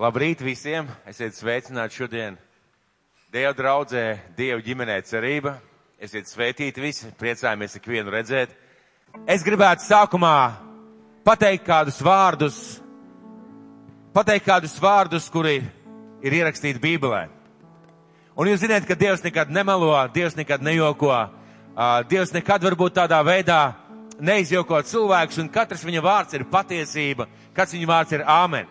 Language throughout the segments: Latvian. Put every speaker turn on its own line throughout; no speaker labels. Labrīt visiem! Esiet sveicināti šodien Dieva draudzē, Dieva ģimenē cerība. Esiet sveitīti visi, priecājamies ikvienu redzēt. Es gribētu sākumā pateikt kādus vārdus, pateikt kādus vārdus, kuri ir ierakstīti Bībelē. Un jūs zināt, ka Dievs nekad nemelo, Dievs nekad nejoko, ā, Dievs nekad varbūt tādā veidā neizjoko cilvēks, un katrs viņa vārds ir patiesība, katrs viņa vārds ir āmen.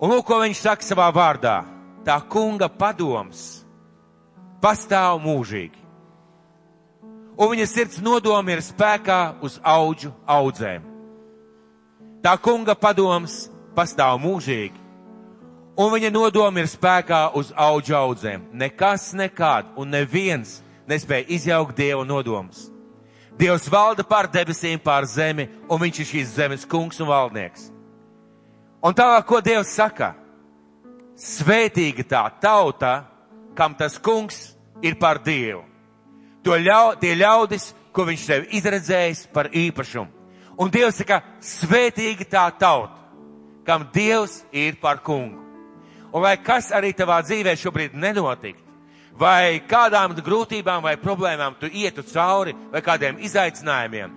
Un lūk, ko viņš saka savā vārdā. Tā kunga padoms pastāv mūžīgi, un viņa sirds nodomi ir spēkā uz augu audzēm. Tā kunga padoms pastāv mūžīgi, un viņa nodomi ir spēkā uz augu audzēm. Nekas nekad un neviens nespēja izjaukt Dieva nodomus. Dievs valda pār debesīm, pār zemi, un viņš ir šīs zemes kungs un valdnieks. Un tālāk, ko Dievs saka? Svētīga tā tauta, kam tas kungs ir par Dievu. To ļau, tie ļaudis, ko viņš sev izredzējis par īpašumu. Un Dievs saka, svētīga tā tauta, kam Dievs ir par kungu. Un lai kas arī tavā dzīvē šobrīd nenotikt, vai kādām grūtībām vai problēmām tu ietu cauri, vai kādiem izaicinājumiem,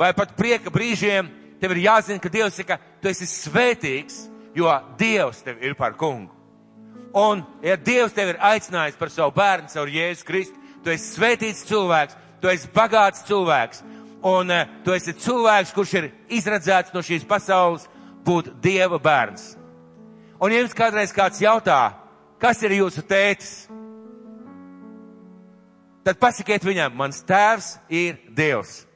vai pat prieka brīžiem, tev ir jāzina, ka Dievs saka, tu esi svētīgs, jo Dievs tev ir par kungu. Un, ja Dievs tevi ir aicinājis par savu bērnu, savu Jēzu Kristu, tu esi svētīts cilvēks, tu esi bagāts cilvēks, un eh, tu esi cilvēks, kurš ir izredzēts no šīs pasaules būt Dieva bērns. Un ja jums kādreiz kāds jautā, kas ir jūsu tētis, tad pasakiet viņam, mans tēvs ir Dievs.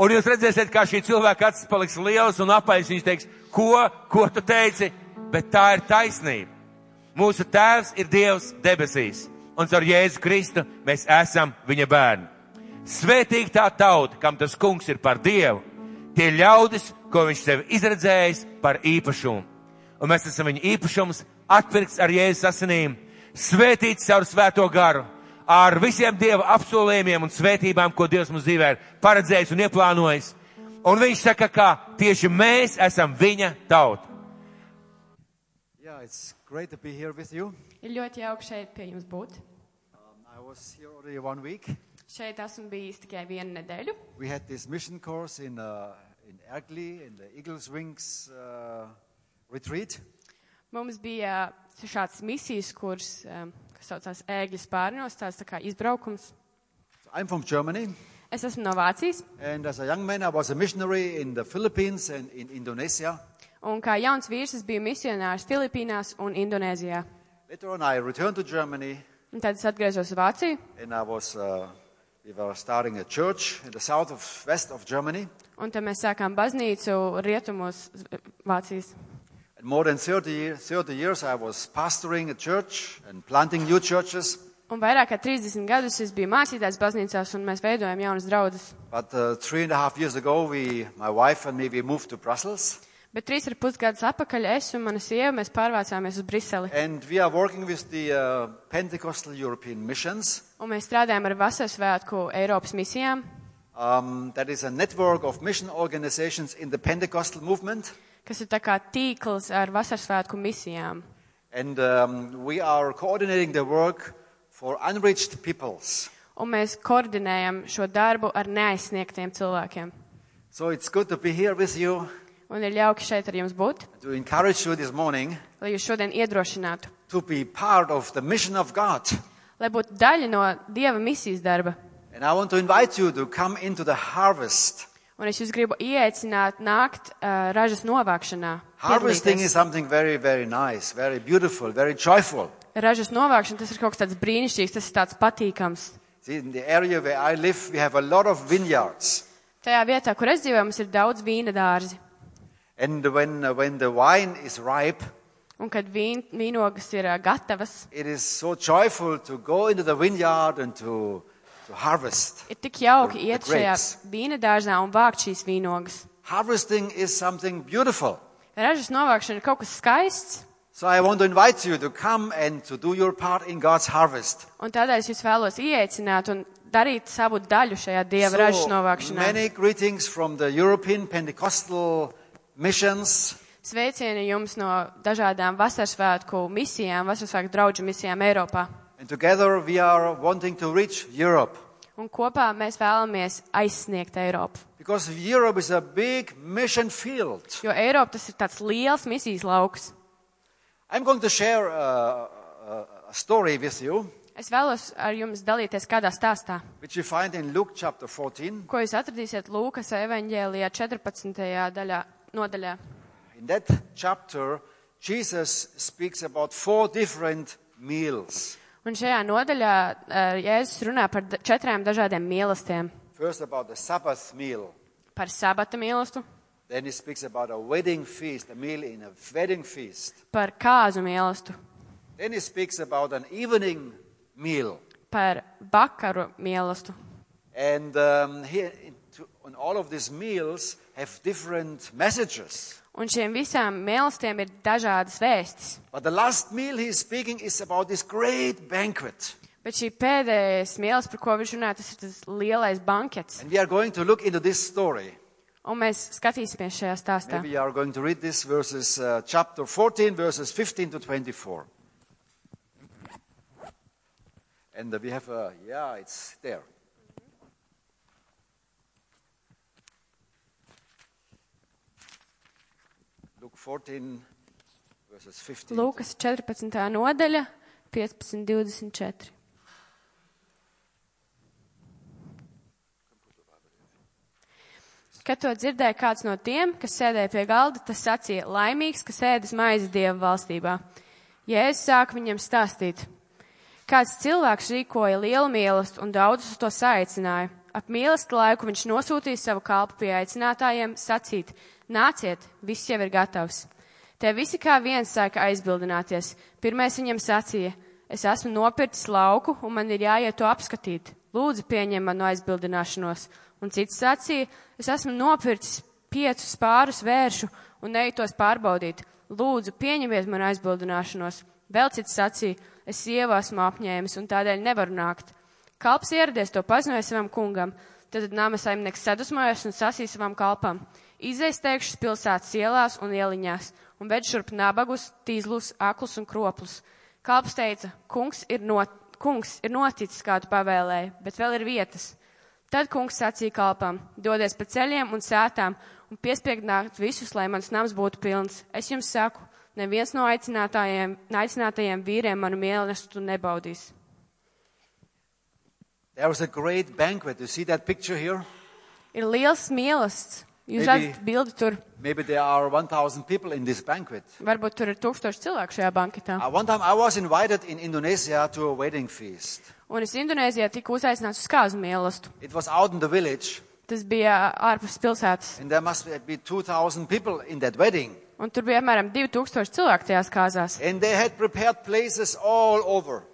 Un jūs redzēsiet, kā šī cilvēka acis paliks liels un apaļš. Viņš teiks, ko, ko tu teici, bet tā ir taisnība. Mūsu tēvs ir Dievs debesīs, un caur Jēzu Kristu mēs esam viņa bērni. Svētīgi tā tauta, kam tas kungs ir par Dievu, tie ļaudis, ko viņš sev izredzējis par īpašumu. Un mēs esam viņa īpašums, atpirkts ar Jēzus asinīm, svētīts caur svēto garu, ar visiem Dieva apsolījumiem un svētībām, ko Dievs mums dzīvē ir paredzējis un ieplānojis. Un viņš saka, ka tieši mēs esam viņa tauta.
Yeah, it's great to be here with you.
Ir ļoti jauki šeit pie jums būt.
Um, I was here already one week.
Šeit esmu bijis tikai vienu nedēļu.
We had this mission course in, uh, in Ergli, in the Eagle's Wings uh, retreat.
Mums bija eh, šāds misijas kurs, em, kas saucās Ēgļas pārnos, tāds tā kā izbraukums.
So I'm from Germany,
Es esmu no Vācijas,
and as a young man, I was a missionary in the Philippines and in Indonesia.
un kā jauns vīrs es biju misionārs Filipīnās un Indonēzijā.
Later on, I returned to Germany,
Un tad es atgriezos uz Vāciju,
and I was, uh, we were starting a church in the south of west of Germany.
un tad mēs sākām baznīcu rietumos z- Vācijas.
And more than 30, year- 30 years, I was pastoring a church and planting new churches.
Un vairāk kā 30 gadus es biju mācītājs baznīcās, un mēs veidojam jaunas draudzes.
But uh, three and a half years ago, we, my wife and me, we moved to Brussels.
Bet trīs ar pus gadus atpakaļ es un mana sieva mēs pārvācāmies uz Briseli.
And we are working with the uh, Pentecostal European Missions.
Un mēs strādājam ar vasaras svētku Eiropas misijām,
Um, that is a network of mission organizations in the Pentecostal movement.
kas ir tā kā tīkls ar vasaras svētku misijām.
And um, we are coordinating the work for unreached peoples.
Un mēs koordinējam šo darbu ar neaizsniegtiem cilvēkiem.
So it's good to be here with you,
Un ir jauki šeit ar jums būt,
to encourage you this morning
lai jūs šodien iedrošinātu,
to be part of the mission of God.
lai būtu daļa no Dieva misijas darba.
And I want to invite you to come into the harvest.
Un es jūs gribu ieteicināt nākt uh, ražas novākšanā.
Harvesting
piedalīties.
is something very, very nice, very beautiful, very joyful.
Ražas novākšana tas ir kaut kas tāds brīnišķīgs, tas ir tāds patīkams.
See, in the area where I live, we have a lot of vineyards.
Tajā vietā, kur es dzīvoju, mums ir daudz vīna dārzi.
And when, uh, when the wine is ripe,
Un kad vīn, vīnogas ir ā, gatavas,
it is so joyful to go into the vineyard and to, to harvest.
ir tik jauki
The- the
iet šajā
grapes.
vīna dārzā un vākt šīs vīnogas.
Harvesting is something beautiful.
Ražas novākšana ir kaut kas skaists,
So I want to invite you to come and to do your part in God's harvest.
un tādēļ es jūs vēlos ieteicināt un darīt savu daļu šajā dieva so ražas novākšanā.
many greetings from the European Pentecostal missions.
Sveicieni jums no dažādām vasarasvētku misijām, vasarasvētku draugu misijām Eiropā.
And together we are wanting to reach Europe.
Un kopā mēs vēlamies aizsniegt Eiropu.
Because Europe is a big mission field.
Jo Eiropa tas ir tāds liels misijas lauks.
I'm going to share uh, a, a story with you,
Es vēlos ar jums dalīties kādā stāstā,
which you find in Luke chapter 14.
ko jūs atradīsiet Lūkas evaņģēlijā 14. Daļā, nodaļā.
In that chapter, Jesus speaks about four different meals.
Un šajā nodaļā eh, Jēzus runā par da- četrām dažādiem mīlestiem.
First, about the Sabbath meal.
Par sabata mīlestību,
Then he speaks about a wedding feast, a meal in a wedding feast.
par kāzu mīlestību,
Then he speaks about an evening meal.
par vakaru mīlestību.
And um, here, in- to, on all of these meals, have different messages.
Un šiem visām mīlestībām ir dažādas vēstis.
But the last meal he is speaking is about this great banquet.
Bet šī pēdējais mīlestība, par ko viņš runā, tas ir tas lielais bankets.
And we are going to look into this story.
Un mēs skatīsimies šajā stāstā.
Maybe you are going to read this verses, uh, chapter 14, verses 15 to 24. And uh, we have, uh, yeah, it's there. Luke 14, verses 15.
Lūkas 14. nodaļa, 15, 24. Kad to dzirdēja kāds no tiem, kas sēdēja pie galda, tas sacīja, laimīgs, kas ēdas maizi Dieva valstībā. Jēzus sāk viņam stāstīt. Kāds cilvēks rīkoja lielu mīlestību un daudzus uz to saicināja. Ap mīlestību laiku viņš nosūtīja savu kalpu pie aicinātājiem sacīt, nāciet, viss jau ir gatavs. Te visi kā viens sāka aizbildināties. Pirmais viņam sacīja, es esmu nopircis lauku un man ir jāiet to apskatīt. Lūdzu, pieņem manu aizbildināšanos. Un cits sacīja, es esmu nopircis piecus pārus vēršu un eju tos pārbaudīt. Lūdzu, pieņemiet man aizbildināšanos. Vēl cits sacīja, es sievu esmu apņēmis un tādēļ nevaru nākt. Kalps ieradies to paziņoja savam kungam. Tad nama saimnieks sadusmojās un sasīja savam kalpam. Izaisteikšus pilsētas ielās un ieliņās, un ved šurp nabagus, tīzlus, aklus un kroplus. Kalps teica, kungs ir, not, kungs ir noticis, kā tu pavēlēji, bet vēl ir vietas. Tad kungs sacīja kalpam, dodies pa ceļiem un sētām un piespiegd nākt visus, lai mans nams būtu pilns. Es jums saku, neviens no aicinātājiem, aicinātajiem vīriem manu mīlestību nebaudīs.
There was a great banquet. You see that picture here?
Ir liels mīlestības. Jūs
Maybe-
redzat bildi tur,
Maybe there are 1,000 people in this banquet.
varbūt tur ir tūkstoši cilvēku šajā banketā.
Uh, one time I was invited in Indonesia to a wedding feast.
Un es Indonēzijā tiku uzaicināts uz kāzu mīlestību.
It was out in the village,
Tas bija ārpus pilsētas.
and there must be 2,000 people in that wedding.
Un tur bija apmēram 2000 cilvēku tajās kāzās.
And they had prepared places all over.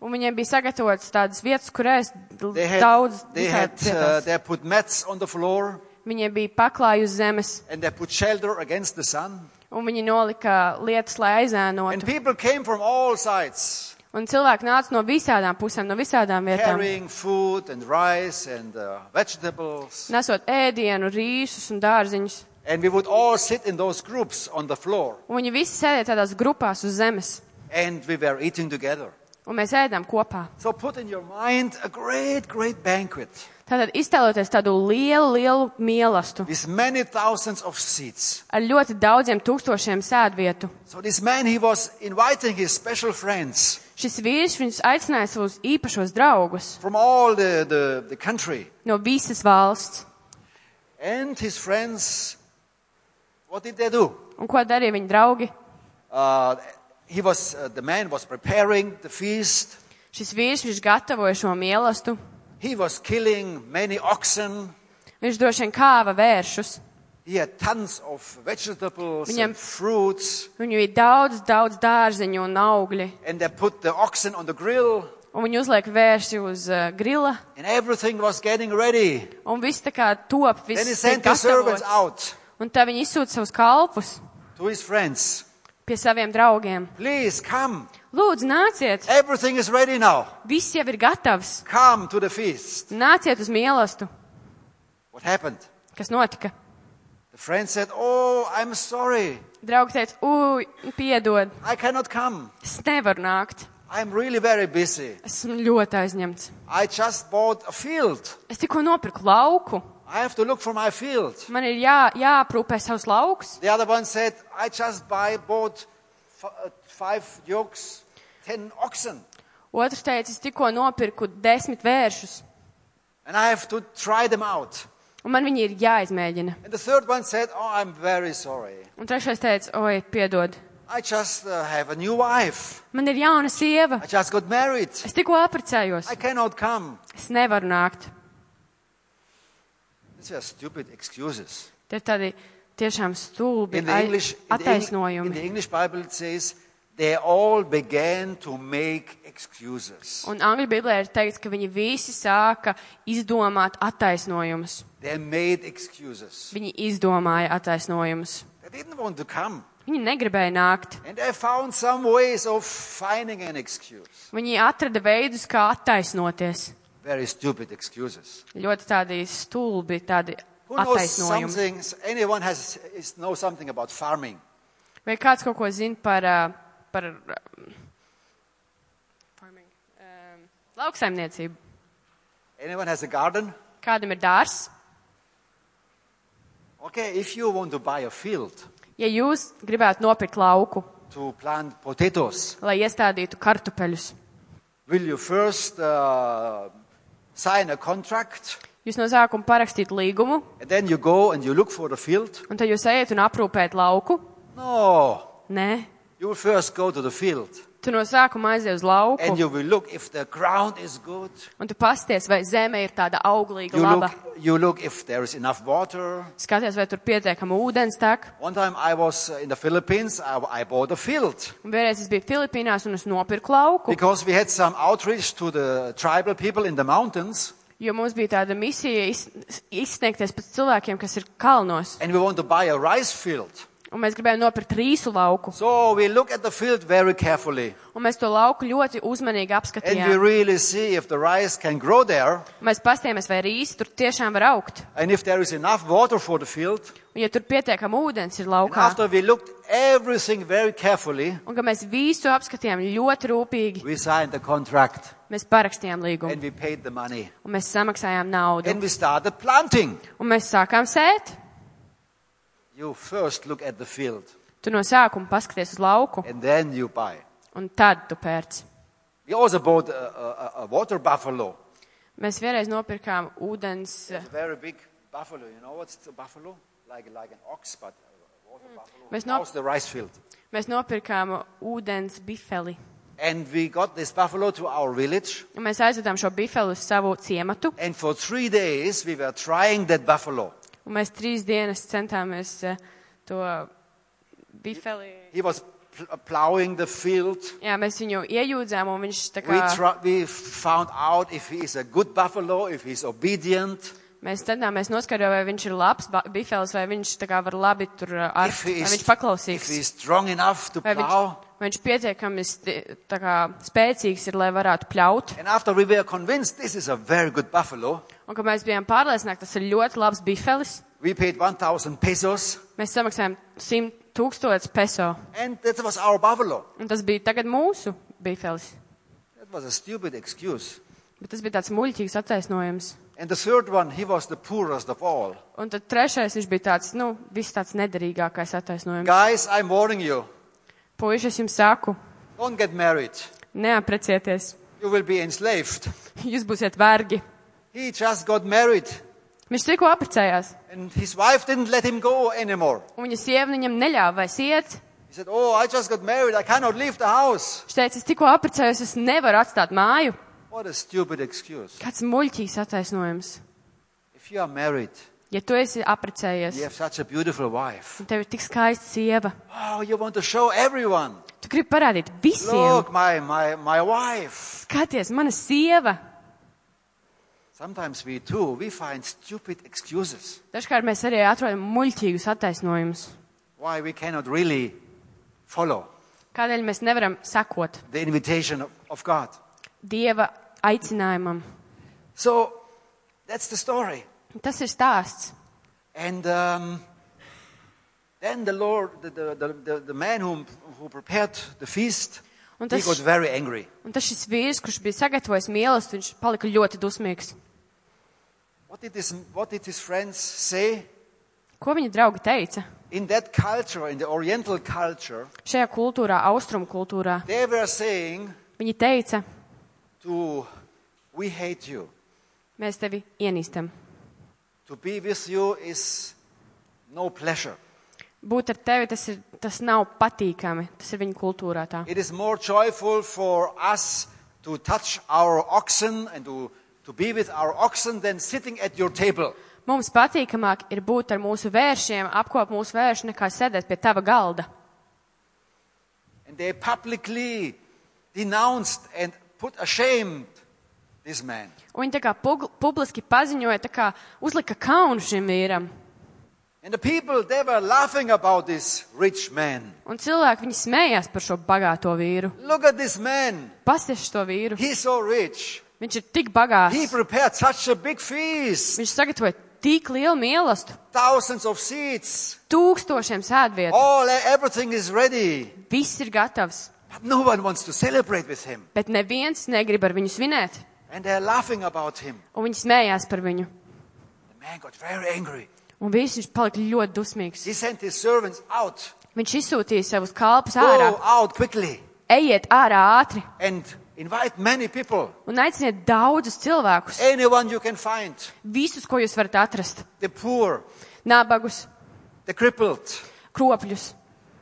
Un viņiem bija sagatavotas tādas vietas, kur ēst l-
They had,
daudz.
they, had
visādas
uh,
vietās.
they put mats on the floor,
Viņiem bija paklāji uz zemes,
and they put shelter against the sun.
un viņi nolika lietas, lai
And
aizēnotu.
people came from all sides,
Un cilvēki nāca no visādām pusēm, no visādām vietām.
carrying food and rice and uh, vegetables.
Nesot ēdienu, rīsus un dārziņus.
And we would all sit in those groups on the floor,
Un viņi visi sēdēja tādās grupās uz zemes,
and we were eating together.
un mēs ēdām kopā.
So put in your mind a great, great banquet
Tātad iztēloties tādu lielu, lielu mīlestību
with many thousands of seats.
ar ļoti daudziem tūkstošiem sēdvietu.
So this man, he was inviting his special friends
Šis vīrs viņus aicināja savus īpašos draugus
from all the, the, the country.
no visas valsts.
And his friends, what did they do?
Un ko darīja viņa draugi?
Uh, he was, uh, the man was preparing the feast.
Šis vīrs viņš gatavoja šo mīlestību.
He was killing many oxen.
Viņš droši vien kāva vēršus.
He had tons of vegetables
Viņam-
and fruits.
Viņu ir daudz, daudz dārziņu un augļi.
And they put the oxen on the grill.
Un viņi uzliek vērsi uz uh, grila.
And everything was getting ready.
Un viss tā kā top,
Then he
viss tiek
sent the servants out
gatavots. Un tā viņi izsūta savus kalpus
to his friends.
pie saviem draugiem.
Please come.
Lūdzu, nāciet!
Everything is ready now.
Viss jau ir gatavs!
Come to the feast.
Nāciet uz mīlestību!
What happened?
Kas notika?
The friend said, Oh, I'm sorry.
Draugs teica, ui, piedod,
I cannot come.
es nevaru nākt.
I'm really very busy.
Esmu ļoti aizņemts.
I just bought a field.
Es tikko nopirku lauku.
I have to look for my field.
Man ir jā, jāaprūpē savs lauks.
The other one said, I just buy, bought f- uh, five yokes, ten oxen,
Otrs teica, es tikko nopirku desmit vēršus,
and I have to try them out.
un man viņi ir jāizmēģina.
And the third one said, Oh, I'm very sorry.
Un trešais teica, oi, piedod,
I just uh, have a new wife.
man ir jauna sieva.
I just got married.
Es tikko apprecējos.
I cannot come.
Es nevaru nākt.
These are stupid excuses.
Tie ir tādi tiešām stulbi
In the
ai-
English, in the, Eng- in
attaisnojumi.
the English Bible, it says, They all began to make excuses.
Un Angļu Bībelē ir teikts, ka viņi visi sāka izdomāt attaisnojumus.
They made excuses.
Viņi izdomāja attaisnojumus.
They didn't want to come.
Viņi negribēja nākt.
And I found some ways of finding an excuse.
Viņi atrada veidus, kā attaisnoties.
Very stupid excuses.
Ļoti tādi stulbi, tādi
Who knows
attaisnojumi.
something? Anyone has is, knows something about farming?
Vai kāds kaut ko zina par, ā, par ā, farming, ā, lauksaimniecību?
Anyone has a garden?
Kādam ir dārs?
Okay, if you want to buy a field
Ja jūs gribētu nopirkt lauku,
to plant potatoes,
lai iestādītu kartupeļus,
will you first uh, sign a contract
jūs no sākuma parakstītu līgumu,
and then you go and you look for the field?
un tad jūs ejat un aprūpējat lauku?
No,
Nē,
you will first go to the field
tu no sākuma aizies uz
and
lauku,
you will look if the ground is good.
un tu pasties, vai zeme ir tāda auglīga,
You
laba.
look, you look if there is enough water.
Skaties, vai tur pietiekama ūdens tak.
One time I was uh, in the Philippines. I, I bought a field
Un vienreiz es biju Filipīnās un es nopirku lauku,
because we had some outreach to the tribal people in the mountains,
jo mums bija tāda misija iz- izsniegties pēc cilvēkiem, kas ir kalnos.
and we want to buy a rice field.
Un mēs gribējām nopirkt rīsu lauku.
So we look at the field very carefully,
Un mēs to lauku ļoti uzmanīgi
and we
apskatījām.
really see if the rice can grow there,
Mēs pastījāmies, vai rīsi tur tiešām var augt.
and if there is enough water for the field.
Un ja tur pietiekam ūdens ir
And
laukā.
after we looked everything very carefully,
Un ka mēs visu apskatījām ļoti rūpīgi,
we signed the contract
mēs parakstījām
and
līgumu.
we paid the money,
Un mēs samaksājām naudu.
and we started planting.
Un mēs sākām sēt.
You first look at the field,
Tu no sākuma paskaties uz lauku.
and then you buy.
Un tad tu pērc.
We also bought a, a, a- a water buffalo.
Mēs vienreiz nopirkām
It's
ūdens.
a very big buffalo. You know what's a buffalo? Like like an ox, but a water buffalo.
Mēs,
Now
no,
it's the rice field.
mēs nopirkām ūdens bifeli.
And we got this buffalo to our village.
Un mēs aizvedām šo bifeli uz savu ciematu.
And for three days we were trying that buffalo.
Un mēs trīs dienas centāmies eh, to bifeli.
He was pl- uh, plowing the field.
Jā, mēs viņu iejūdzām, un viņš tā
We,
kā.
tr- we found out if he is a good buffalo, if he's obedient,
Mēs centāmies noskaidrot, vai viņš ir labs ba- bifels, vai viņš tā kā var labi tur eh, ar,
if he
vai
is,
viņš
if he
paklausīgs.
is strong enough to
Vai viņš,
plow.
vai viņš pietiekami sti- tā kā spēcīgs ir, lai varētu pļaut.
And after we were convinced this is a very good buffalo,
Un, ka mēs bijām pārliecināti, tas ir ļoti labs bifelis.
we paid 1,000 pesos,
Mēs samaksājām 100 tūkstotis peso.
and that was our buffalo.
Un tas bija tagad mūsu bifelis.
That was a stupid excuse.
Bet tas bija tāds muļķīgs attaisnojums.
And the third one, he was the poorest of all.
Un tad trešais viņš bija tāds, nu, viss tāds nederīgākais attaisnojums.
Guys, I'm warning you.
Puiši, es jums saku,
Don't get married.
neaprecieties.
You will be enslaved.
Jūs būsiet vergi.
He just got married
Viņš tikko aprecējās,
and his wife didn't let him go anymore.
un viņa sieva viņam neļāva vairs iet.
He said, Oh, I just got married. I cannot leave the house.
Viņš teica, es tikko aprecējos, es nevaru atstāt māju.
What a stupid excuse.
Kāds muļķīgs attaisnojums.
If you are married,
Ja tu esi aprecējies,
you have such a beautiful wife.
un tev ir tik skaista sieva,
Oh, you want to show everyone.
tu gribi parādīt visiem,
Look, my, my, my wife.
skaties, mana sieva.
Sometimes we too, we find stupid excuses
Dažkārt mēs arī atrodam muļķīgus attaisnojumus.
why we cannot really follow
Kādēļ mēs nevaram sekot
the invitation of, of God.
Dieva aicinājumam?
So that's the story.
Tas ir stāsts.
And um, Then the Lord, the, the, the, the, the man whom, who prepared the feast,
Und
he
das-
got very angry.
Un tas šis vīrs, kurš bija sagatavojis mīlestību, viņš palika ļoti dusmīgs.
What did his, what did his friends say?
Ko viņa draugi teica?
In that culture, in the Oriental culture,
Šajā kultūrā, austrumu kultūrā,
they were saying
viņi teica,
to, we hate you.
mēs tevi ienīstam.
To be with you is no pleasure.
Būt ar tevi tas, ir, tas nav patīkami. Tas ir viņa kultūrā tā.
It is more joyful for us to touch our oxen and to, to be with our oxen than sitting at your table.
Mums patīkamāk ir būt ar mūsu vēršiem, apkopot mūsu vēršu, nekā sēdēt pie tava galda.
And they publicly denounced and put ashamed this man.
Un viņi tā kā pug- publiski paziņoja, tā kā uzlika kaunu šim vīram.
And the people, they were laughing about this rich man.
Un cilvēki viņi smējās par šo bagāto vīru.
Look at this man.
Pasieši to vīru.
He's so rich.
Viņš ir tik bagāts.
He prepared such a big feast.
Viņš sagatavoja tik lielu mīlestību,
Thousands of seats.
tūkstošiem sēdvietu.
All, eh, everything is ready.
Viss ir gatavs,
But no one wants to celebrate with him.
bet neviens negrib ar viņu svinēt.
And they're laughing about him.
Un viņi smējās par viņu.
The man got very angry.
Un visi viņš palika ļoti dusmīgs.
He sent his servants out.
Viņš izsūtīja savus kalpus ārā.
Go out quickly
Ejiet ārā ātri
and invite many people.
un aiciniet daudzus cilvēkus.
Anyone you can find.
Visus, ko jūs varat atrast.
The poor,
Nabagus,
the crippled,
kropļus,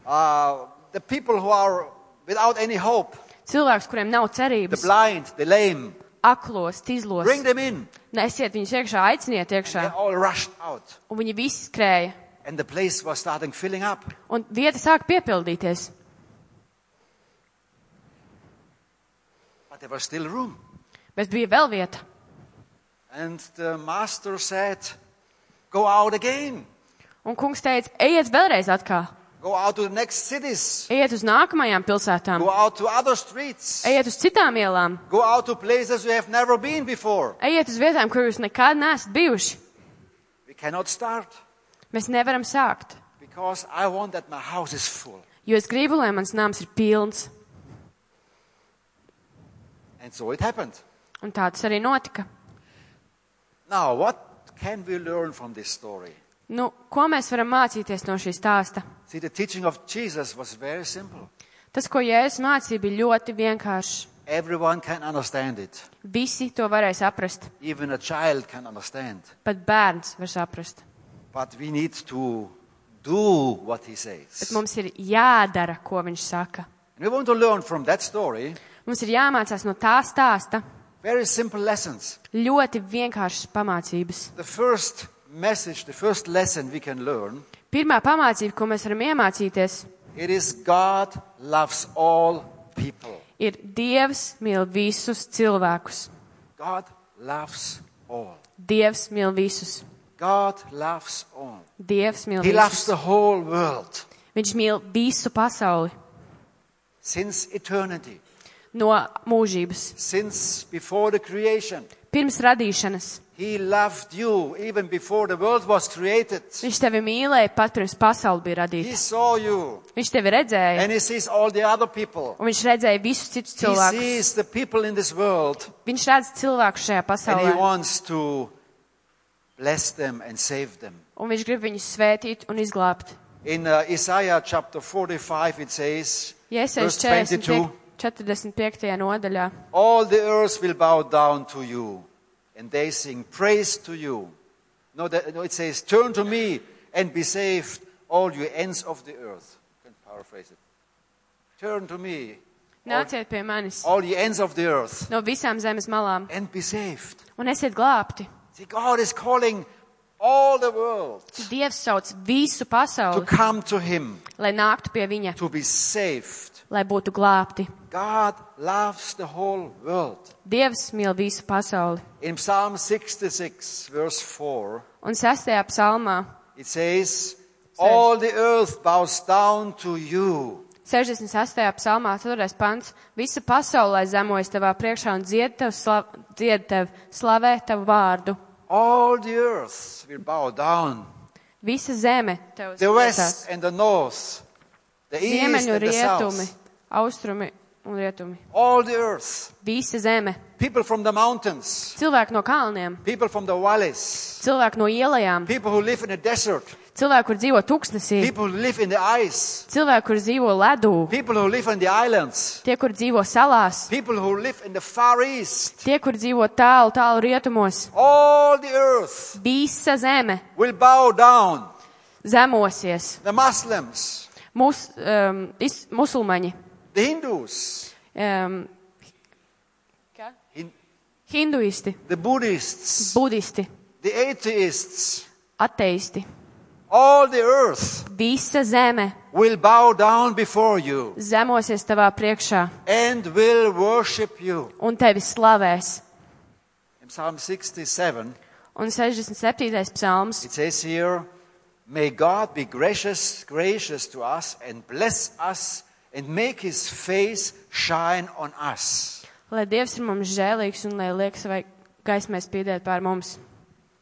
uh, the people who are without any hope,
cilvēkus, kuriem nav
the
cerības,
blind, the lame.
aklos, tīzlos.
Bring them in.
Nesiet viņus iekšā, aiciniet
They
iekšā.
all rushed out.
Un viņi visi skrēja.
And the place was starting filling up.
Un vieta sāk piepildīties.
But there was still room.
Bet bija vēl vieta.
And the master said, Go out again.
Un kungs teica, ejiet vēlreiz atkal,
Go out to the next cities.
ejiet uz nākamajām pilsētām,
Go out to other streets.
ejiet uz citām ielām,
Go out to places you have never been before.
ejiet uz vietām, kur jūs nekad neesat bijuši.
We cannot start
Mēs nevaram sākt,
because I want that my house is full.
jo es gribu, lai mans nams ir pilns.
And so it happened.
Un tā tas arī notika.
Now, what can we learn from this story?
Nu, ko mēs varam mācīties no šī stāsta?
See, the teaching of Jesus was very simple.
Tas, ko Jēzus mācīja, bija ļoti vienkārši.
Everyone can understand it.
Visi to varēja saprast,
Even a child can understand.
pat bērns var saprast.
But we need to do what he
Bet
says.
mums ir jādara, ko viņš saka.
And we want to learn from that story
Mums ir jāmācās no tā stāsta
very simple lessons.
ļoti vienkāršas pamācības.
The first message, the first lesson we can learn,
Pirmā pamācība, ko mēs varam iemācīties,
it is God loves all people.
ir Dievs mīl visus cilvēkus.
God loves all.
Dievs mīl visus.
God loves all.
Dievs mīl
He loves
visus.
the whole world
Viņš mīl visu pasauli
since eternity,
no mūžības,
since before the creation.
pirms radīšanas.
He loved you even before the world was created.
Viņš tevi mīlēja pat pirms pasauli bija
He
radīta.
saw you
Viņš tevi redzēja,
and he sees all the other people.
un viņš redzēja visus citus
He
cilvēkus.
sees the people in this world
Viņš redz cilvēku šajā
and he
pasaulē,
wants to bless them and save them.
un viņš grib viņus svētīt un izglābt.
In uh, Isaiah chapter 45 it says, verse
Jēzus
22,
45. nodaļā.
All the earth will bow down to you, and they sing praise to you. No, that, no, it says, Turn to me and be saved, all you ends of the earth. You can paraphrase it. Turn to me,
Nāciet pie manis
all ye ends of the earth,
no visām zemes malām
and be saved.
un esiet glābti.
See, God is calling all the world
Dievs sauc visu
to
pasauli,
come to Him,
lai nāktu pie viņa,
to be saved.
lai būtu glābti.
God loves the whole world.
Dievs mīl visu pasauli.
In Psalm 66, verse 4,
Un sestajā psalmā,
It says, All the earth bows down to you.
68. psalmā, 4. pants, visa pasaulē zemojas tavā priekšā un dzied tev, slav, dzied tev slavē tavu vārdu.
All the earth will bow down
Visa zeme tev
The
uzticās.
west and the north, the east
Ziemeņu,
and the
rietumi,
south,
austrumi un rietumi.
all the earth.
Visa zeme.
People from the mountains,
Cilvēki no kalniem,
people from the valleys,
cilvēki no ielām,
people who live in the desert,
cilvēki, kur dzīvo tūkstnesī,
people who live in the ice,
cilvēki, kur dzīvo ledū,
people who live on the islands,
tie, kur dzīvo salās,
people who live in the far east.
tie, kur dzīvo tālu, tālu rietumos.
All the earth
Visa zeme
will bow down.
zemosies.
The Muslims,
Mus, um, is, musulmaņi,
the Hindus,
um,
hin-
hinduisti,
the Buddhists,
budisti,
the atheists,
ateisti.
all the earth
Visa zeme
will bow down before you
zemosies tavā priekšā
and will worship you.
un tevi slavēs.
In Psalm 67,
Un 67. psalms.
it says here, May God be gracious, gracious to us and bless us and make his face shine on us.
Lai Dievs ir mums žēlīgs un lai liek savai gaismai spīdēt pār mums.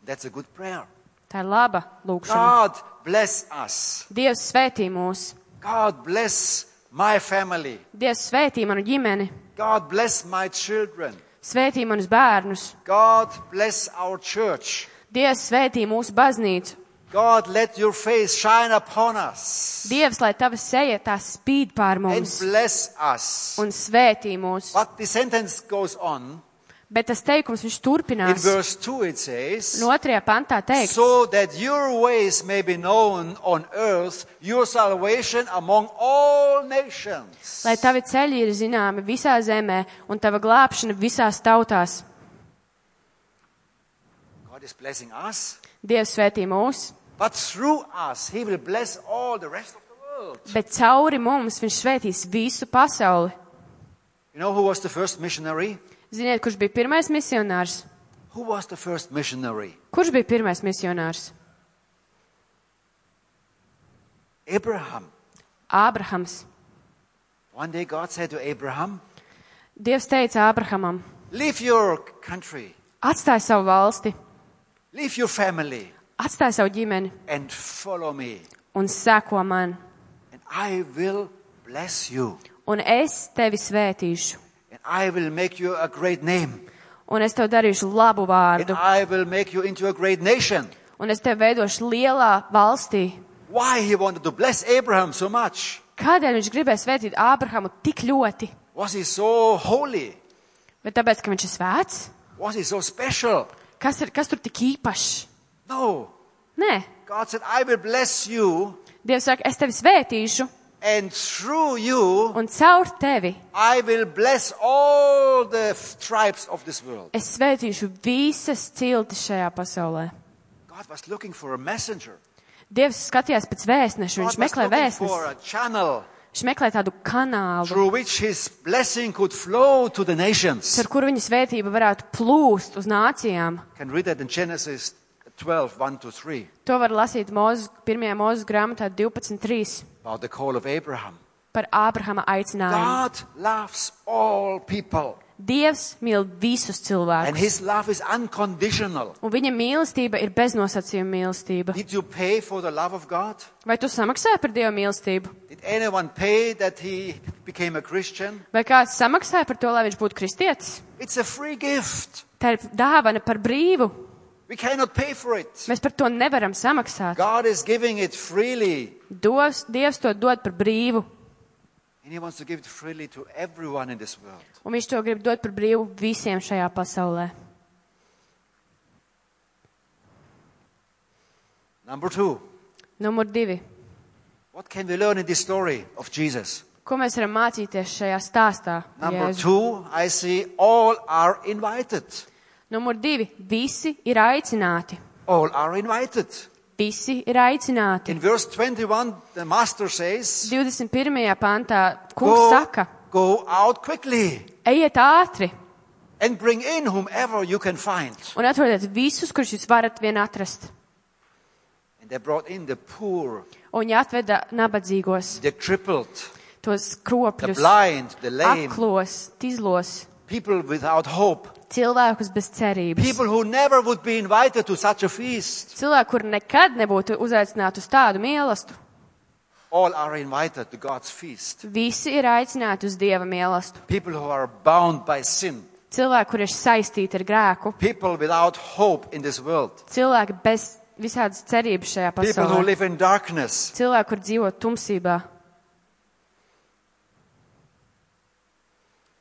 That's a good prayer.
Tā ir laba lūkšana.
God bless us.
Dievs svētī mūs.
God bless my family.
Dievs svētī manu ģimeni.
God bless my children.
Svētī manus bērnus.
God bless our church.
Dievs svētī mūsu baznīcu.
God, let your face shine upon us
Dievs, lai tavas seja tā spīd pār
and
mums
bless us.
un svētī mūs.
But the sentence goes on.
Bet tas teikums viņš
In
turpinās.
verse 2 it says,
No otrajā pantā teikts,
So that your ways may be known on earth, your salvation among all nations.
lai tavi ceļi ir zināmi visā zemē un tava glābšana visās tautās.
God is blessing us,
Dievs svētī mūs,
but through us, He will bless all the rest of the world.
bet cauri mums viņš svētīs visu pasauli.
You know who was the first missionary?
Ziniet, kurš bija pirmais misionārs?
Who was the first missionary?
Kurš bija pirmais misionārs?
Abraham.
Ābrahams.
One day God said to Abraham,
Dievs teica Ābrahamam,
Leave your country,
atstāj savu valsti,
leave your family,
atstāj savu ģimeni
and follow me,
un seko man,
and I will bless you,
un es tevi svētīšu,
and I will make you a great name,
un es tev darīšu labu
and
vārdu,
I will make you into a great nation.
un es tevi veidošu lielā valstī.
Why he wanted to bless Abraham so much?
Kādēļ viņš gribēja svētīt Ābrahamu tik ļoti?
Was he so holy?
Vai tāpēc, ka viņš ir svēts?
Was he so special?
Kas, ir, kas tur tik īpašs?
No.
Nē,
God said, I will bless you,
Dievs saka, es tevi svētīšu,
and through you,
un caur tevi
I will bless all the f- tribes of this world.
es svētīšu visas ciltis šajā pasaulē.
God was looking for a messenger.
Dievs skatījās pēc vēstneša,
God
viņš
was
meklē
looking for
vēstnesi,
a channel
viņš meklē tādu kanālu,
through which his blessing could flow to the nations.
ar kuru viņa svētība varētu plūst uz nācijām.
can read that in Genesis 12, 1 to 3,
To var lasīt Mozus, pirmajā Mozus grāmatā 12.3
about the call of Abraham.
par Ābrahama aicinājumu.
God loves all people,
Dievs mīl visus
and
cilvēkus,
his love is unconditional.
un viņa mīlestība ir beznosacījuma mīlestība.
Did you pay for the love of God?
Vai tu samaksāji par Dieva mīlestību?
Did anyone pay that he became a Christian?
Vai kāds samaksāja par to, lai viņš būtu kristietis?
It's a free gift.
Tā ir dāvana par brīvu.
We cannot pay for it.
Mēs par to nevaram samaksāt.
God is giving it freely,
Dos, Dievs to dod par brīvu,
and he wants to give it freely to everyone in this world.
un Viņš to grib dot par brīvu visiem šajā pasaulē.
Number two.
Numur divi.
What can we learn in this story of Jesus?
Ko mēs varam mācīties šajā stāstā?
Number
Jēzu?
two, I see all are invited.
Numur divi. Visi ir aicināti.
All are invited.
Visi ir aicināti.
In verse 21, the Master says,
21. pantā kungs
go,
saka,
go out quickly
ejiet ātri
and bring in whomever you can find.
un atrodiet visus, kurus jūs varat vien atrast.
And they brought in the poor,
Un viņi atveda nabadzīgos,
the crippled,
tos
the
kropļus,
blind, the lame,
aklos, tizlos,
people without hope.
cilvēkus bez cerības.
People who never would be invited to such a feast,
Cilvēki, kuri nekad nebūtu uzaicināti uz tādu mīlestību,
all are invited to God's feast.
visi ir aicināti uz dieva mīlestību.
People who are bound by sin,
Cilvēki, kuri ir saistīti ar grēku,
people without hope in this world,
cilvēki bez visādas cerības šajā
people who
pasaulē,
live in darkness.
cilvēki, kur dzīvo tumsībā.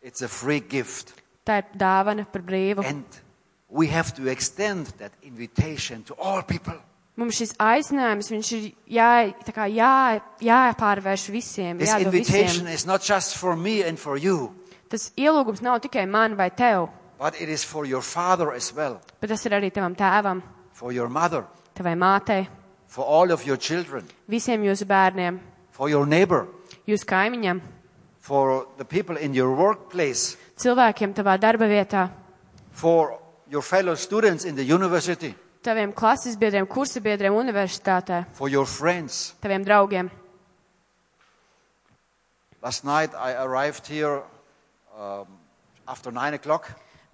It's a free gift.
Tā ir dāvana par brīvu.
And we have to extend that invitation to all people.
Mums šis aicinājums, viņš ir jā, tā kā jā, jāpārvērš visiem.
This
jādod
invitation
visiem.
is not just for me and for you,
Tas ielūgums nav tikai man vai tev,
but it is for your father as well,
bet tas ir arī tavam tēvam,
for your mother,
tavai mātei,
for all of your children,
visiem jūsu bērniem,
for your neighbor,
jūsu kaimiņam,
for the people in your workplace,
cilvēkiem tavā darba vietā,
for your fellow students in the university,
taviem klases biedriem, kursa biedriem universitātē,
for your friends.
taviem draugiem.
Last night I arrived here um, after nine o'clock,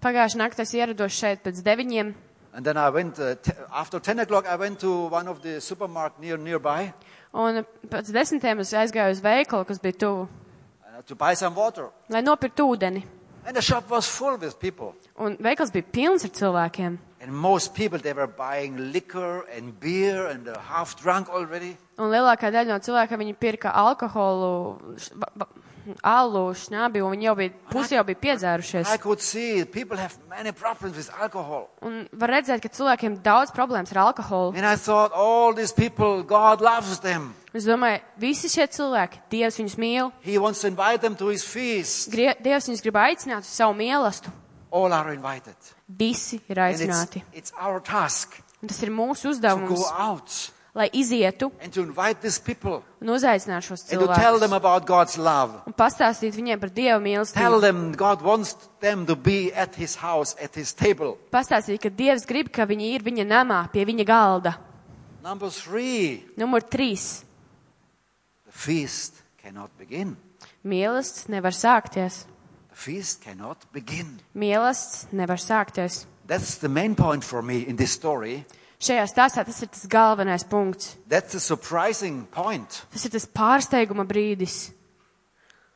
Pagājušā naktī es ierados šeit pēc deviņiem,
and then I went uh, t- after ten o'clock. I went to one of the supermarkets near nearby
un pēc desmitiem es aizgāju uz veikalu, kas bija tuvu,
uh, to buy some water,
lai nopirktu ūdeni.
and the shop was full with people.
Un veikals bija pilns ar cilvēkiem.
And most people they were buying liquor and beer, and they're half drunk already.
Un lielākā daļa no cilvēkiem viņi pirka alkoholu, š- va- va- alu, šņābi, un viņi jau bija, pusi jau bija
I
piedzērušies.
could see people have many problems with alcohol.
Un var redzēt, ka cilvēkiem daudz problēmas ar alkoholu.
And I thought, all these people, God loves them.
Es domāju, visi šie cilvēki, Dievs viņus mīl,
He wants to invite them to his feast.
Grie, Dievs viņus grib aicināt uz savu mīlestību.
All are invited.
Visi ir
And it's,
aicināti.
it's our task
Un tas ir mūsu
to
uzdevums,
go out
lai izietu
and to invite these people
un uzaicinātu šos
and to tell them
cilvēkus.
about God's love.
Un pastāstīt viņiem par Dievu
Tell
mīlestību.
them God wants them to be at his house, at his table.
Pastāstīt, ka Dievs grib, ka viņi ir viņa namā, pie viņa galda.
Number three,
Numur trīs.
the feast cannot begin.
Mīlestība nevar sākties.
The feast cannot begin.
Mīlestība nevar sākties.
That's the main point for me in this story.
Šajā stāstā tas ir tas galvenais punkts.
That's a surprising point.
Tas ir tas pārsteiguma brīdis.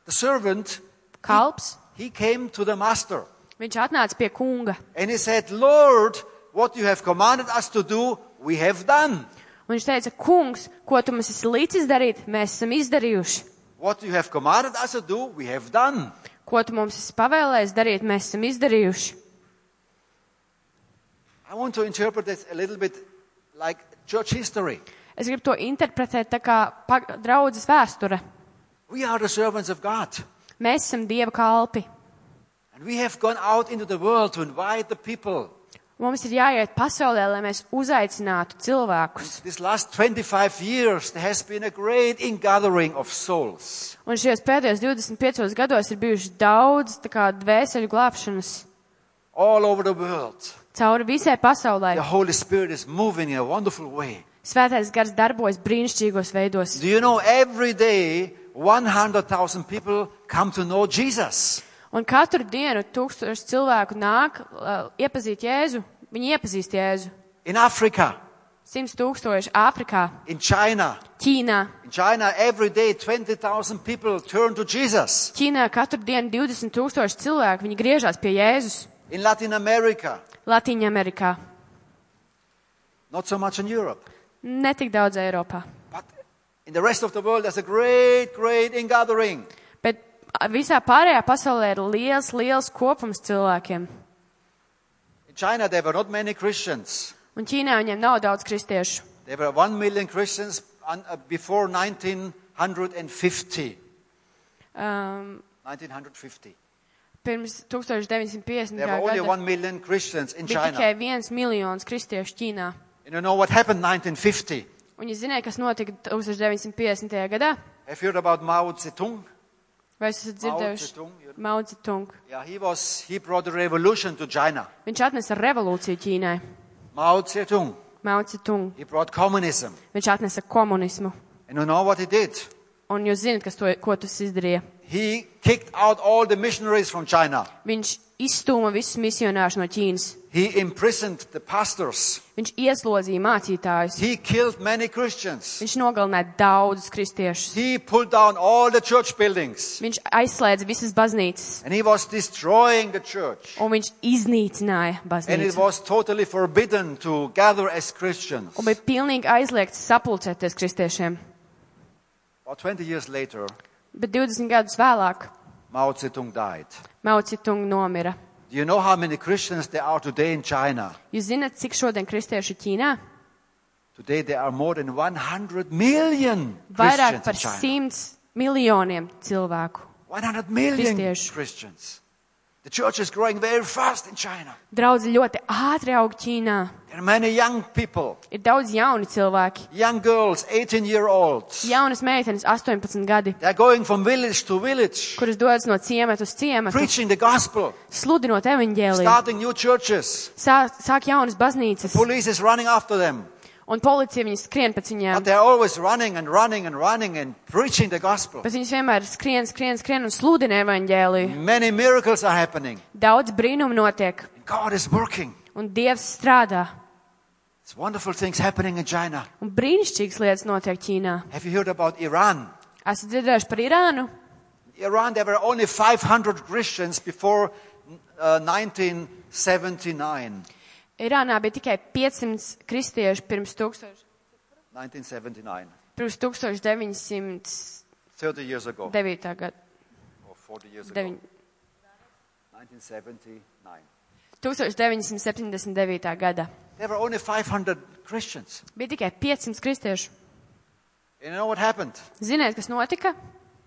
The servant,
Kalps,
he came to the master
viņš atnāca pie kunga.
and he said, Lord, what you have commanded us to do, we have done.
Un viņš teica, kungs, ko tu mums esi līdzis darīt, mēs esam izdarījuši.
What you have commanded us to do, we have done.
Ko tu mums esi pavēlējis darīt, mēs esam izdarījuši.
I want to interpret this a little bit like church history.
Es gribu to interpretēt tā kā pag- draudzes vēsture.
We are the servants of God
Mēs esam dieva kalpi.
and we have gone out into the world to invite the people.
Mums ir jāiet pasaulē, lai mēs uzaicinātu cilvēkus.
This last 25 years, there has been a great ingathering of souls.
Un šajos pēdējos 25 gados ir bijuši daudz tā kā dvēseli glābšanas
all over the world.
cauri visai pasaulē.
The Holy Spirit is moving in a wonderful way.
Svētais gars darbojas brīnišķīgos veidos.
Do you know every day 100,000 people come to know Jesus?
Un katru dienu tūkstoši cilvēku nāk uh, iepazīt Jēzu. Viņi iepazīst Jēzu.
In Africa,
100 tūkstoši Āfrikā,
in China.
Ķīnā.
In China, every day 20,000 people turn to Jesus.
Ķīnā katru dienu 20 tūkstoši cilvēku viņi griežās pie Jēzus.
In Latin America,
Latīņa Amerikā.
not so much in Europe.
Netik daudz Eiropā.
But in the rest of the world, there's a great, great ingathering.
Bet ā, visā pārējā pasaulē ir liels, liels kopums cilvēkiem.
In China, there were not many Christians.
Un Ķīnā viņiem nav daudz kristiešu.
There were 1 million Christians un- uh, before 1950.
Um,
1950.
pirms 1950.
There were only
gada
1 million Christians in
bija
China.
tikai viens miljons kristiešu Ķīnā.
And you know what happened 1950?
Un jūs zināt, kas notika 1950. gadā?
Have you heard about Mao Zedong?
Vai jūs esat
Mao
dzirdējuši
Zedong, you know?
Mao Zedong?
Yeah, he was he brought a revolution to China.
Viņš atnesa revolūciju Ķīnai.
Mao Zedong,
Mao Zedong.
he brought communism.
Viņš atnesa komunismu.
And you know what he did?
Un jūs zināt, kas to, ko tas izdarīja.
He kicked out all the missionaries from China.
Viņš izstūma visus misionārus no Ķīnas.
He imprisoned the pastors.
Viņš ieslodzīja mācītājus.
He killed many Christians.
Viņš nogalināja daudzus kristiešus.
He pulled down all the church buildings.
Viņš aizslēdza visas baznīcas.
And he was destroying the church.
Un viņš iznīcināja
And it
baznīcu.
was totally forbidden to gather as Christians.
Un bija pilnīgi aizliegts sapulcēties kristiešiem.
About 20 years later,
Bet 20 gadus vēlāk
Mao Zedong died.
Maucitung nomira.
Do you know how many Christians there are today in China?
Jūs zināt, cik šodien kristieši ir Ķīnā?
Today there are more than 100 million
Vairāk
Christians in
par
China.
100 miljoniem cilvēku.
100 million
Kristiešu.
Christians. The church is growing very fast in China.
Draudzi ļoti ātri aug Ķīnā.
There are many young people,
Ir daudz jauni cilvēki.
young girls, 18 year olds.
Jaunas meitenes, 18 gadi,
They are going from village to village,
kuras dodas no ciemata uz ciematu,
preaching the gospel,
sludinot evaņģēliju,
starting new churches.
sāk, sāk jaunas baznīcas,
Police is running after them.
un policija viņus skrien pēc
But
viņiem.
they are always running and running and running and preaching the gospel.
Pēc viņus vienmēr skrien, skrien, skrien un sludina evaņģēliju.
Many miracles are happening.
Daudz brīnumu notiek,
God is working.
un Dievs strādā.
It's wonderful things happening in China.
Un brīnišķīgas lietas notiek Ķīnā.
Have you heard about Iran?
Esat dzirdējuši par Irānu?
Iran, there were only 500 Christians before uh, 1979.
Irānā bija tikai 500 kristiešu pirms, 1000,
1979,
pirms 1909.
30 years ago,
gada.
or 40 years ago,
deviņ-
1979.
1979. gada.
There were only 500 Christians.
Bija tikai 500 kristiešu.
And you know what happened?
Ziniet, kas notika?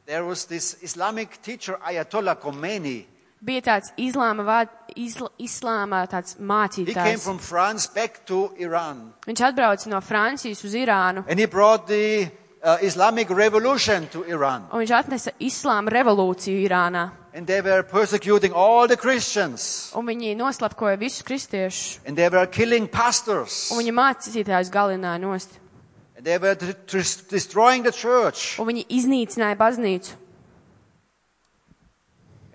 There was this Islamic teacher, Ayatollah Khomeini.
Bija tāds islāma, vād, isl, islāma tāds
He came
mācītājs.
from France back to Iran.
Viņš atbrauca no Francijas uz Irānu.
And he brought the uh, Islamic revolution to Iran.
Un viņš atnesa islāma revolūciju Irānā.
And they were persecuting all the Christians.
Un viņi noslapkoja visus kristiešus.
And they were killing pastors.
Un viņa mācītājus galināja nost.
And they were de- tris- destroying the church.
Un viņi iznīcināja baznīcu.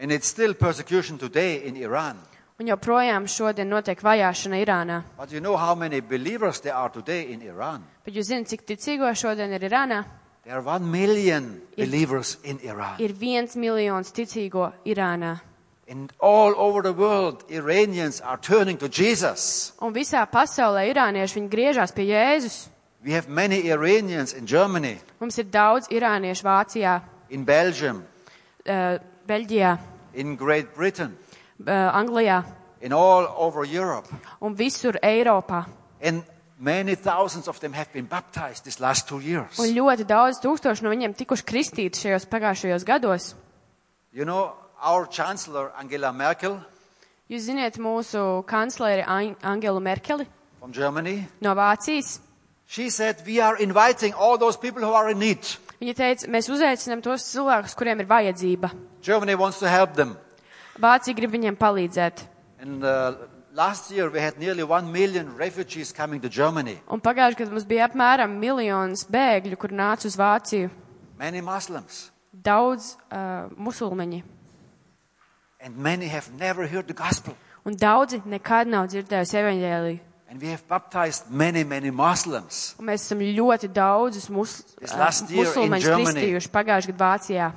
And it's still persecution today in Iran.
Un joprojām šodien notiek vajāšana Irānā.
But you know how many believers there are today in Iran?
Bet jūs zināt, cik ticīgo šodien ir Irānā?
There are one million
Ir-
believers in Iran.
Ir viens miljons ticīgo Irānā.
And all over the world, Iranians are turning to Jesus.
Un visā pasaulē irānieši viņi griežās pie Jēzus.
We have many Iranians in Germany,
Mums ir daudz irāniešu Vācijā,
in Belgium,
eh, Beļģijā,
in Great Britain,
eh, Anglijā
in all over Europe.
un visur Eiropā.
And many thousands of them have been baptized these last two years.
Un ļoti daudz tūkstoši no viņiem tikuši kristīti šajos pagājušajos gados.
You know, our Chancellor Angela Merkel
Jūs ziniet mūsu kancleri An- Angelu Merkeli
from Germany,
no Vācijas.
She said, We are inviting all those people who are in need.
Viņa teica, mēs uzaicinām tos cilvēkus, kuriem ir vajadzība.
Germany wants to help them.
Vācija grib viņiem palīdzēt.
And uh, last year we had nearly one million refugees coming to Germany,
Un pagājušajā gadā mums bija apmēram miljons bēgļu, kur nāca uz Vāciju.
many Muslims.
Daudz uh, musulmaņi.
And many have never heard the gospel.
Un daudzi nekad nav dzirdējuši evaņģēliju.
And we have baptized many, many Muslims.
Un mēs esam ļoti daudzus mus,
This
uh,
last year in
musulmaņus
Germany.
kristījuši pagājušajā gadā Vācijā.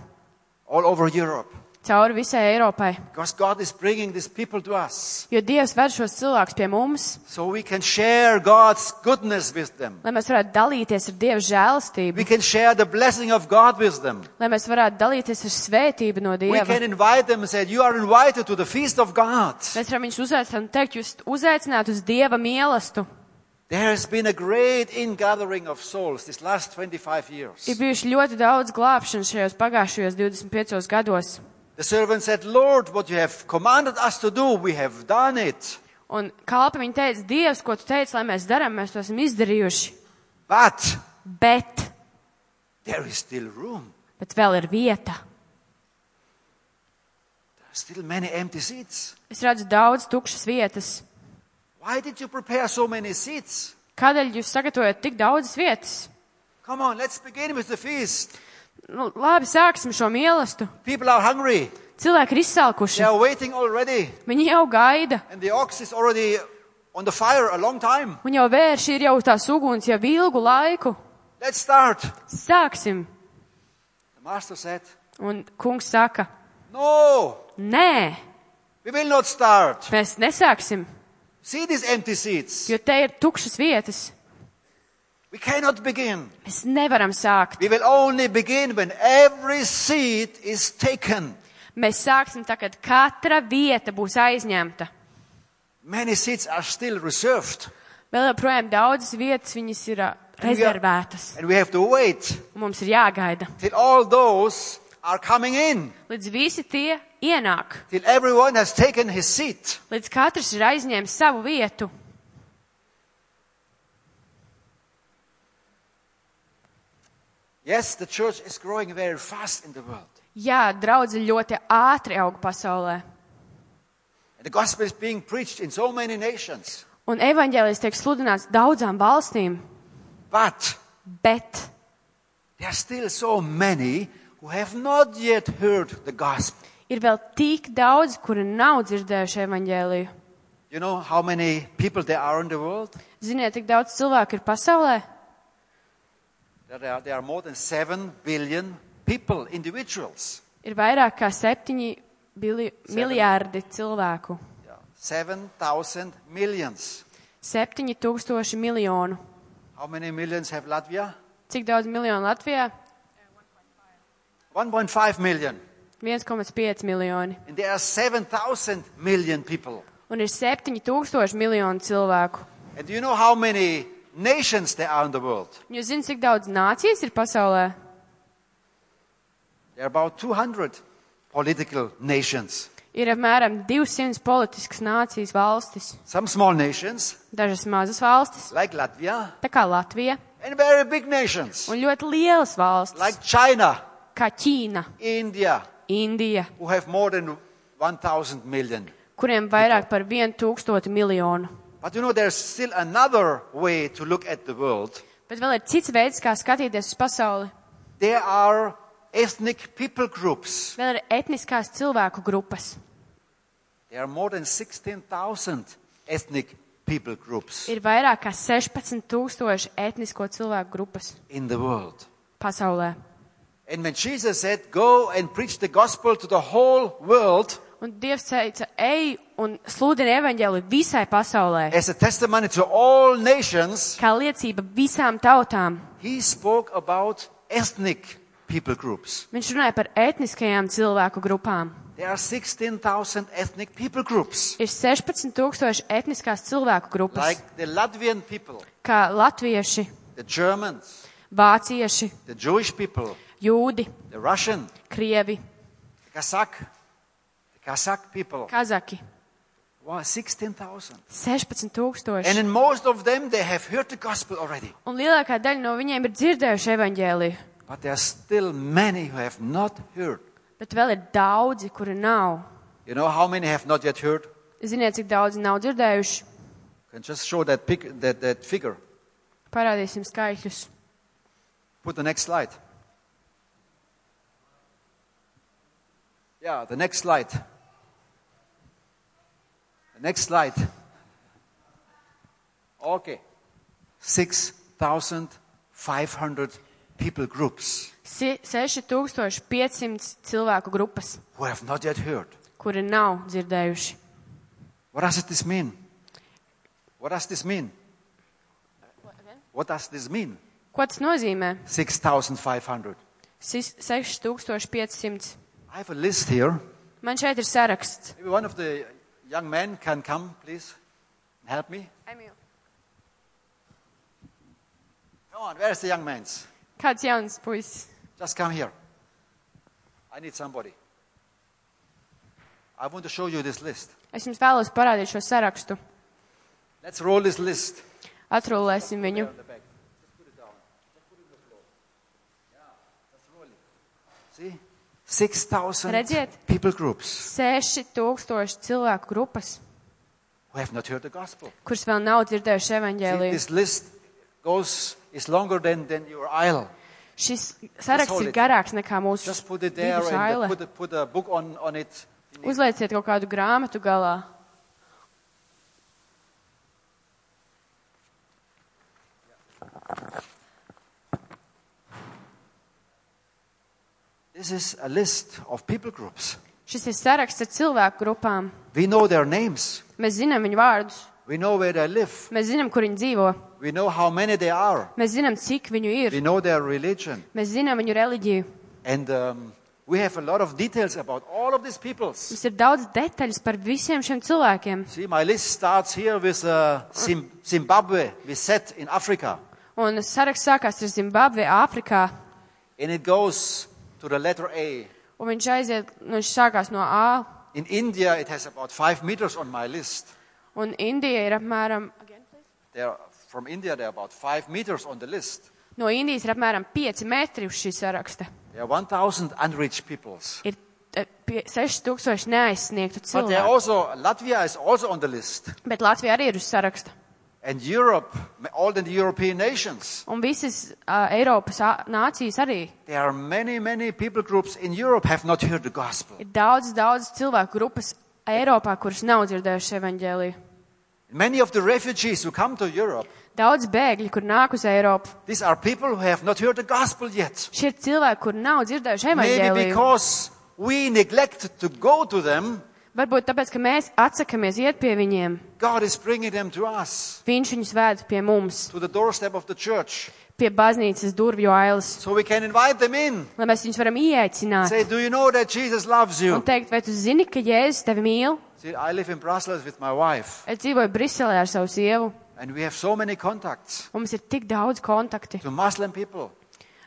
All over Europe.
Cauri visai Eiropai.
Because God is bringing these people to us.
Jo Dievs ver šos cilvēkus pie mums,
So we can share God's goodness with them.
lai mēs varētu dalīties ar Dieva žēlastību,
We can share the blessing of God with them.
lai mēs varētu dalīties ar svētību no
We
Dieva.
can invite them and say, You are invited to the feast of God.
Mēs varam viņus uzaicināt un teikt, jūs uzaicināt uz Dieva mīlestību.
There has been a great ingathering of souls this last 25
Ir
years.
bijuši ļoti daudz glābšanas šajos pagājušajos 25 gados.
The servant said, Lord, what you have commanded us to do, we have done it.
Un kalpa viņa teica, Dievs, ko tu teici, lai mēs darām, mēs to esam izdarījuši.
But
Bet,
there is still room.
bet vēl ir vieta.
There are still many empty seats.
Es redzu daudz tukšas vietas.
Why did you prepare so many seats?
Kādēļ jūs sagatavojat tik daudzas vietas?
Come on, let's begin with the feast.
Nu, labi, sāksim šo mīlestību.
People are hungry.
Cilvēki ir
They
izsalkuši.
are waiting already,
Viņi jau gaida.
and the ox is already on the fire a long time.
Un jau vērši ir jau tās uguns jau ilgu laiku.
Let's start. The
Sāksim.
master said,
Un kungs saka,
No,
nē,
we will not start.
mēs nesāksim,
See these empty seats.
jo te ir tukšas vietas.
We cannot begin.
Mēs nevaram sākt.
We will only begin when every seat is taken.
Mēs sāksim tā, kad katra vieta būs aizņemta.
Many seats are still reserved,
Vēl joprojām daudzas vietas viņas ir ā, rezervētas.
and we have to wait
Un Mums ir jāgaida,
till all those are coming in,
līdz visi tie ienāk,
till everyone has taken his seat.
līdz katrs ir aizņēmis savu vietu.
Yes, the church is growing very fast in the world.
Jā, draudzi ļoti ātri aug pasaulē.
And the gospel is being preached in so many nations.
Un evaņģēlis tiek sludināts daudzām valstīm,
But
bet
there are still so many who have not yet heard the gospel.
ir vēl tik daudz, kuri nav dzirdējuši evaņģēliju.
You know how many people there are in the world?
Ziniet, cik daudz cilvēku ir pasaulē?
There are, there are more than 7 billion people, individuals.
Ir vairāk kā septiņi bili, miljārdi cilvēku.
Yeah. 7,000 millions.
Septiņi tūkstoši miljonu.
How many millions have Latvia?
Cik daudz miljonu Latvijā?
1.5 million.
1,5 miljoni.
And there are 7,000 million people.
Un ir 7000 miljonu cilvēku.
And do you know how many nations there are in the world?
Un Jūs zināt, cik daudz nācijas ir pasaulē?
There are about 200 political nations.
Ir apmēram 200 politiskas nācijas valstis,
Some small nations,
dažas mazas valstis,
like Latvia,
tā kā Latvija,
and very big nations,
un ļoti lielas valstis,
like China,
kā Ķīna,
India,
Indija,
who have more than 1,000 million.
kuriem vairāk par 1000 miljonu.
But you know, there's still another way to look at the world.
Bet vēl ir cits veids, kā skatīties uz pasauli.
There are ethnic people groups.
Vēl ir etniskās cilvēku grupas.
There are more than 16,000 ethnic people groups
Ir vairāk kā 16,000 etnisko cilvēku grupas
in the world.
pasaulē.
And when Jesus said, Go and preach the gospel to the whole world
Un Dievs teica, ej un sludini evaņģēli visai pasaulē,
as a testimony to all nations,
kā liecība visām tautām.
he spoke about ethnic people groups.
Viņš runāja par etniskajām cilvēku grupām.
There are 16,000 ethnic people groups,
Ir 16,000 etniskās cilvēku grupas,
like the Latvian people,
kā latvieši,
the Germans,
vācieši,
the Jewish people,
jūdi,
the Russian,
krievi,
the Kazakh, the Kazakh people.
kazaki.
Wow, 16,000. And
16,000.
in most of them, they have heard the gospel already.
Un lielākā daļa no viņiem ir dzirdējuši evaņģēliju,
But there are still many who have not heard.
bet vēl ir daudzi, kuri nav.
You know how many have not yet heard?
Ziniet, cik daudzi nav dzirdējuši?
Can just show that, pic- that, that figure.
Parādīsim skaitļus.
Put the next slide. Yeah, the next slide. The next slide. Okay. 6,500 people groups
Si- 6500 cilvēku grupas,
who have not yet heard.
kuri nav dzirdējuši.
What does this mean? What does this mean? What does this mean?
Ko tas nozīmē?
6,500.
Sis- 6500.
I have a list here.
Man šeit ir saraksts.
Maybe one of the young men can come, please, and help me. Come on, where's the young man's?
Kāds jauns puisis?
Just come here. I need somebody. I want to show you this list.
Es jums vēlos parādīt šo sarakstu.
Let's roll this list.
Atrullēsim viņu.
On the back. Just put it down. Just put it on the floor. Yeah, just roll it. See? 6,000
Redziet.
people groups
6000 cilvēku grupas,
who have not heard the gospel.
kuras vēl nav dzirdējuši
See,
evaņģēliju.
this list goes is longer than, than your aisle.
Šis saraksts
hold
ir
it.
garāks nekā mūsu
Just put it there
vidus
and uh,
aile.
put, a- put a book on, on it.
Uzlieciet kaut kādu grāmatu galā.
This is a list of people groups.
Šis ir saraksts ar cilvēku grupām.
We know their names.
Mēs zinām viņu vārdus,
We know where they live.
mēs zinām, kur viņi dzīvo,
We know how many they are.
mēs zinām, cik viņu ir,
We know their religion.
mēs zinām viņu reliģiju.
And um, we have a lot of details about all of these peoples.
Mums ir daudz detaļas par visiem šiem cilvēkiem.
See, my list starts here with uh, Zim- Zimbabwe, we set in Africa.
Un saraksts sākās ar Zimbabvi, Āfrikā,
And it goes to the letter A.
un viņš aiziet, nu, viņš sākās no A,
In India, it has about five meters on my list.
un Indija ir apmēram,
They are, from India, they are about five meters on the list.
no Indijas ir apmēram 5 metri uz šī saraksta.
There are 1,000 unreached peoples.
Ir eh, pie- 6000 neaizsniegtu
But they are
cilvēku,
also, Latvia is also on the list.
bet Latvija arī ir uz saraksta.
And Europe, all the European nations.
Un visas uh, Eiropas ā- nācijas arī
There are many, many people groups in Europe have not heard the gospel.
ir daudz, daudz cilvēku grupas Eiropā, kuras nav dzirdējuši evaņģēliju.
Many of the refugees who come to Europe,
Daudz bēgļu, kur nāk uz Eiropu.
these are people who have not heard the gospel yet.
Šie ir cilvēki, kur nav dzirdējuši
Maybe
evaņģēliju.
because we neglect to go to them,
Varbūt tāpēc, ka mēs atsakamies iet pie viņiem.
God is bringing them to us,
Viņš viņus vēd pie mums,
to the doorstep of the church,
pie baznīcas durvju ailes,
so we can invite them in.
lai mēs viņus varam ieaicināt
Say, do you know that Jesus loves
un
you?
teikt, vai tu zini, ka Jēzus tevi mīl?
See, I live in Brussels with my wife,
Es dzīvoju Briselē ar savu sievu,
and we have so many contacts
un mums ir tik daudz kontakti
to Muslim people.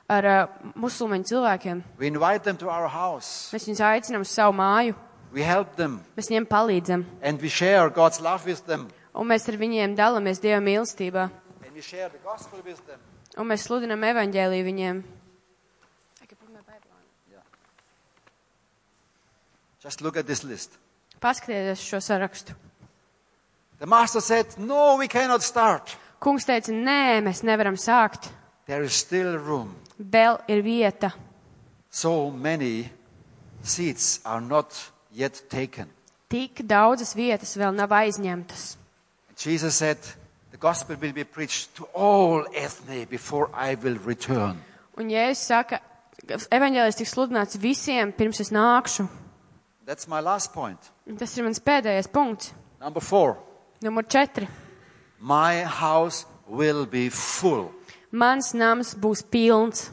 ar uh, musulmaņu cilvēkiem.
We invite them to our house.
Mēs viņus aicinām uz savu māju,
We help them,
mēs viņiem palīdzam,
and we share God's love with them,
un mēs ar viņiem dalāmies Dieva mīlestībā,
and we share the gospel with them.
un mēs sludinam evaņģēlīju viņiem.
Just look at this list.
Paskatieties šo sarakstu.
The master said, No, we cannot start.
Kungs teica, nē, mēs nevaram sākt.
There is still room.
Vēl ir vieta.
So many seats are not yet taken.
Tik daudzas vietas vēl nav aizņemtas.
Jesus said, The gospel will be preached to all ethne before I will return.
Un Jēzus saka, evaņģēlis tiks sludināts visiem, pirms es nākšu.
That's my last point.
Un Tas ir mans pēdējais punkts.
Number four.
Numur četri.
My house will be full.
Mans nams būs pilns.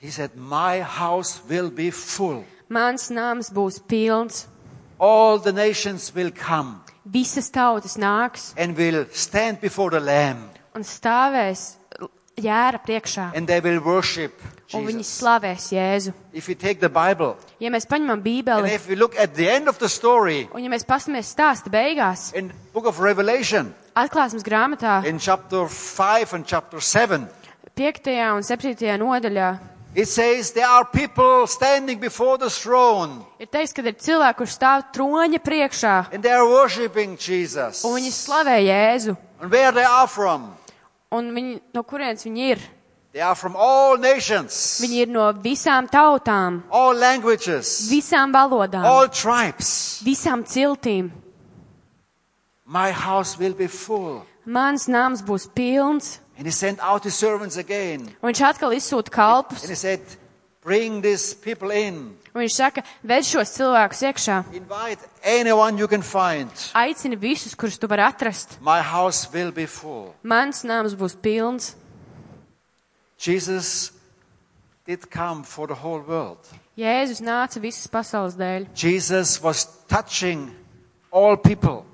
He said, My house will be full.
Mans nams būs pilns.
All the nations will come
Visas tautas nāks
and will stand before the Lamb
un stāvēs jēra priekšā.
and they will worship
Un viņi
Jesus.
slavēs Jēzu.
If we take the Bible
Ja mēs paņemam
and
Bībeli
if we look at the end of the story
un ja mēs paskatāmies stāsta beigās,
in book of Revelation,
atklāsmes grāmatā
in chapter 5 and chapter 7,
5. un 7. nodaļā
It says there are people standing before the throne
ir teiks, ka ir cilvēki, kurš stāv troņa priekšā
and they are worshiping Jesus.
un viņi slavē Jēzu.
And where they are from?
Un viņi, no kurienes viņi ir?
They are from all nations,
Viņi ir no visām tautām,
all languages,
visām valodām,
all tribes.
visām ciltīm.
My house will be full.
Mans nams būs pilns,
And he sent out his servants again.
un viņš atkal izsūta kalpus.
And he said, Bring these people in.
Un viņš saka, ved šos cilvēkus iekšā,
Invite anyone you can find.
aicini visus, kurus tu vari atrast.
My house will be full.
Mans nams būs pilns.
Jesus did come for the whole world.
Jēzus nāca visas pasaules dēļ.
Jesus was touching all people.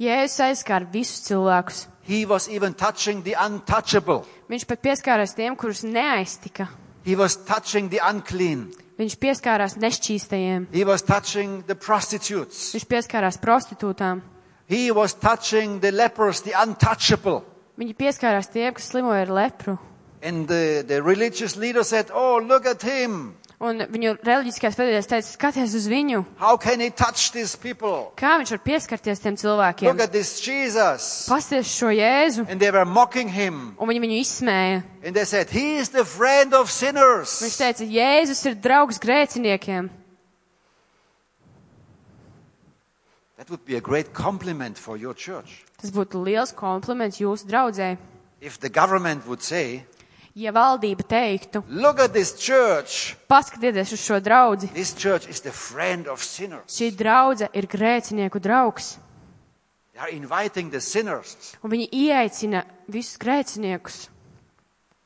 Jēzus aizskāra visus cilvēkus.
He was even touching the untouchable.
Viņš pat pieskārās tiem, kurus neaiztika.
He was touching the unclean.
Viņš pieskārās nešķīstajiem,
He was touching the prostitutes.
viņš pieskārās prostitūtām,
He was touching the lepers, the untouchable.
viņi pieskārās tiem, kas slimoja ar lepru.
And the, the religious leader said, Oh, look at him.
Un viņu reliģiskais vadītājs teica, skaties uz viņu,
How can he touch these people?
kā viņš var pieskarties tiem
Look
cilvēkiem.
at this Jesus.
Pasties šo Jēzu,
And they were mocking him.
un viņi viņu izsmēja.
And they said, He is the friend of
Viņš
sinners.
teica, Jēzus ir draugs grēciniekiem.
That would be a great compliment for your church.
Tas būtu liels kompliments jūsu draudzē.
If the government would say,
Ja valdība teiktu,
Look at this church.
paskatieties uz šo draudzi,
This church is the friend of sinners.
šī draudze ir grēcinieku draugs,
They are inviting the sinners.
un viņi ieaicina visus grēciniekus.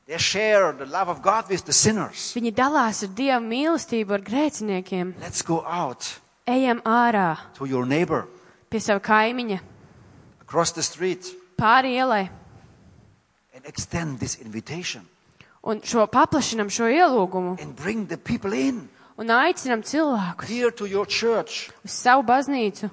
They share the love of God with the sinners.
Viņi dalās ar Dieva mīlestību ar grēciniekiem.
Let's go out
Ejam ārā
to your neighbor
pie sava kaimiņa,
across the street
pāri ielai
and extend this invitation
un šo paplašinam šo ielūgumu
and bring the people in
un aicinam cilvēkus
here to your church
uz savu baznīcu,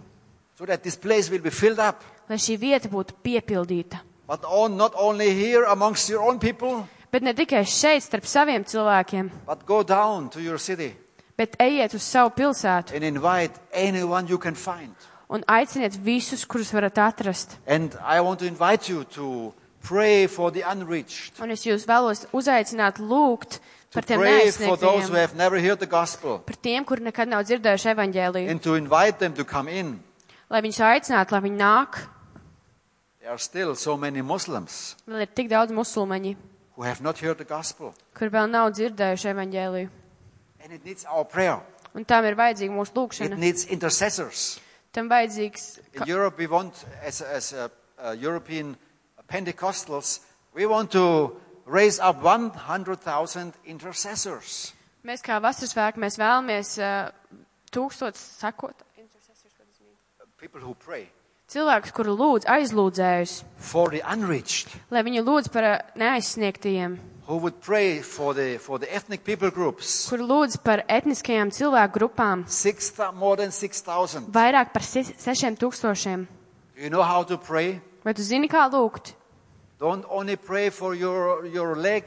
so that this place will be filled up.
lai šī vieta būtu piepildīta.
But on, not only here amongst your own people,
Bet ne tikai šeit starp saviem cilvēkiem,
but go down to your city
bet ejiet uz savu pilsētu
and invite anyone you can find.
un aiciniet visus, kurus varat atrast.
And I want to invite you to pray for the unreached,
Un es jūs vēlos uzaicināt lūgt
to
par tiem
pray for those who
neaizsniegtajiem,
have never heard the gospel,
par tiem, kuri nekad nav dzirdējuši evaņģēliju,
and to invite them to come in.
lai viņus aicinātu, lai viņi nāk,
There are still so many Muslims
vēl ir tik daudz musulmaņi,
who have not heard the gospel,
kur vēl nav dzirdējuši evaņģēliju.
and it needs our prayer.
Un tam ir vajadzīga mūsu
It
lūgšana.
needs intercessors.
Tam vajadzīgs,
In Europe, we want, as, as uh, uh, European Pentecostals, we want to raise up 100,000 intercessors.
mēs kā vasarasvēku, mēs vēlamies uh, tūkstots sakot.
People who pray
Cilvēkus, kuri lūdz aizlūdzējus,
for the unreached,
lai viņi lūdz par uh, neaizsniegtajiem,
who would pray for the, for the ethnic people groups.
kuri lūdz par etniskajām cilvēku grupām,
Six, thou- more than 6,000.
vairāk par se- sešiem tūkstošiem.
Do you know how to pray?
Vai tu zini, kā lūgt?
Don't only pray for your, your leg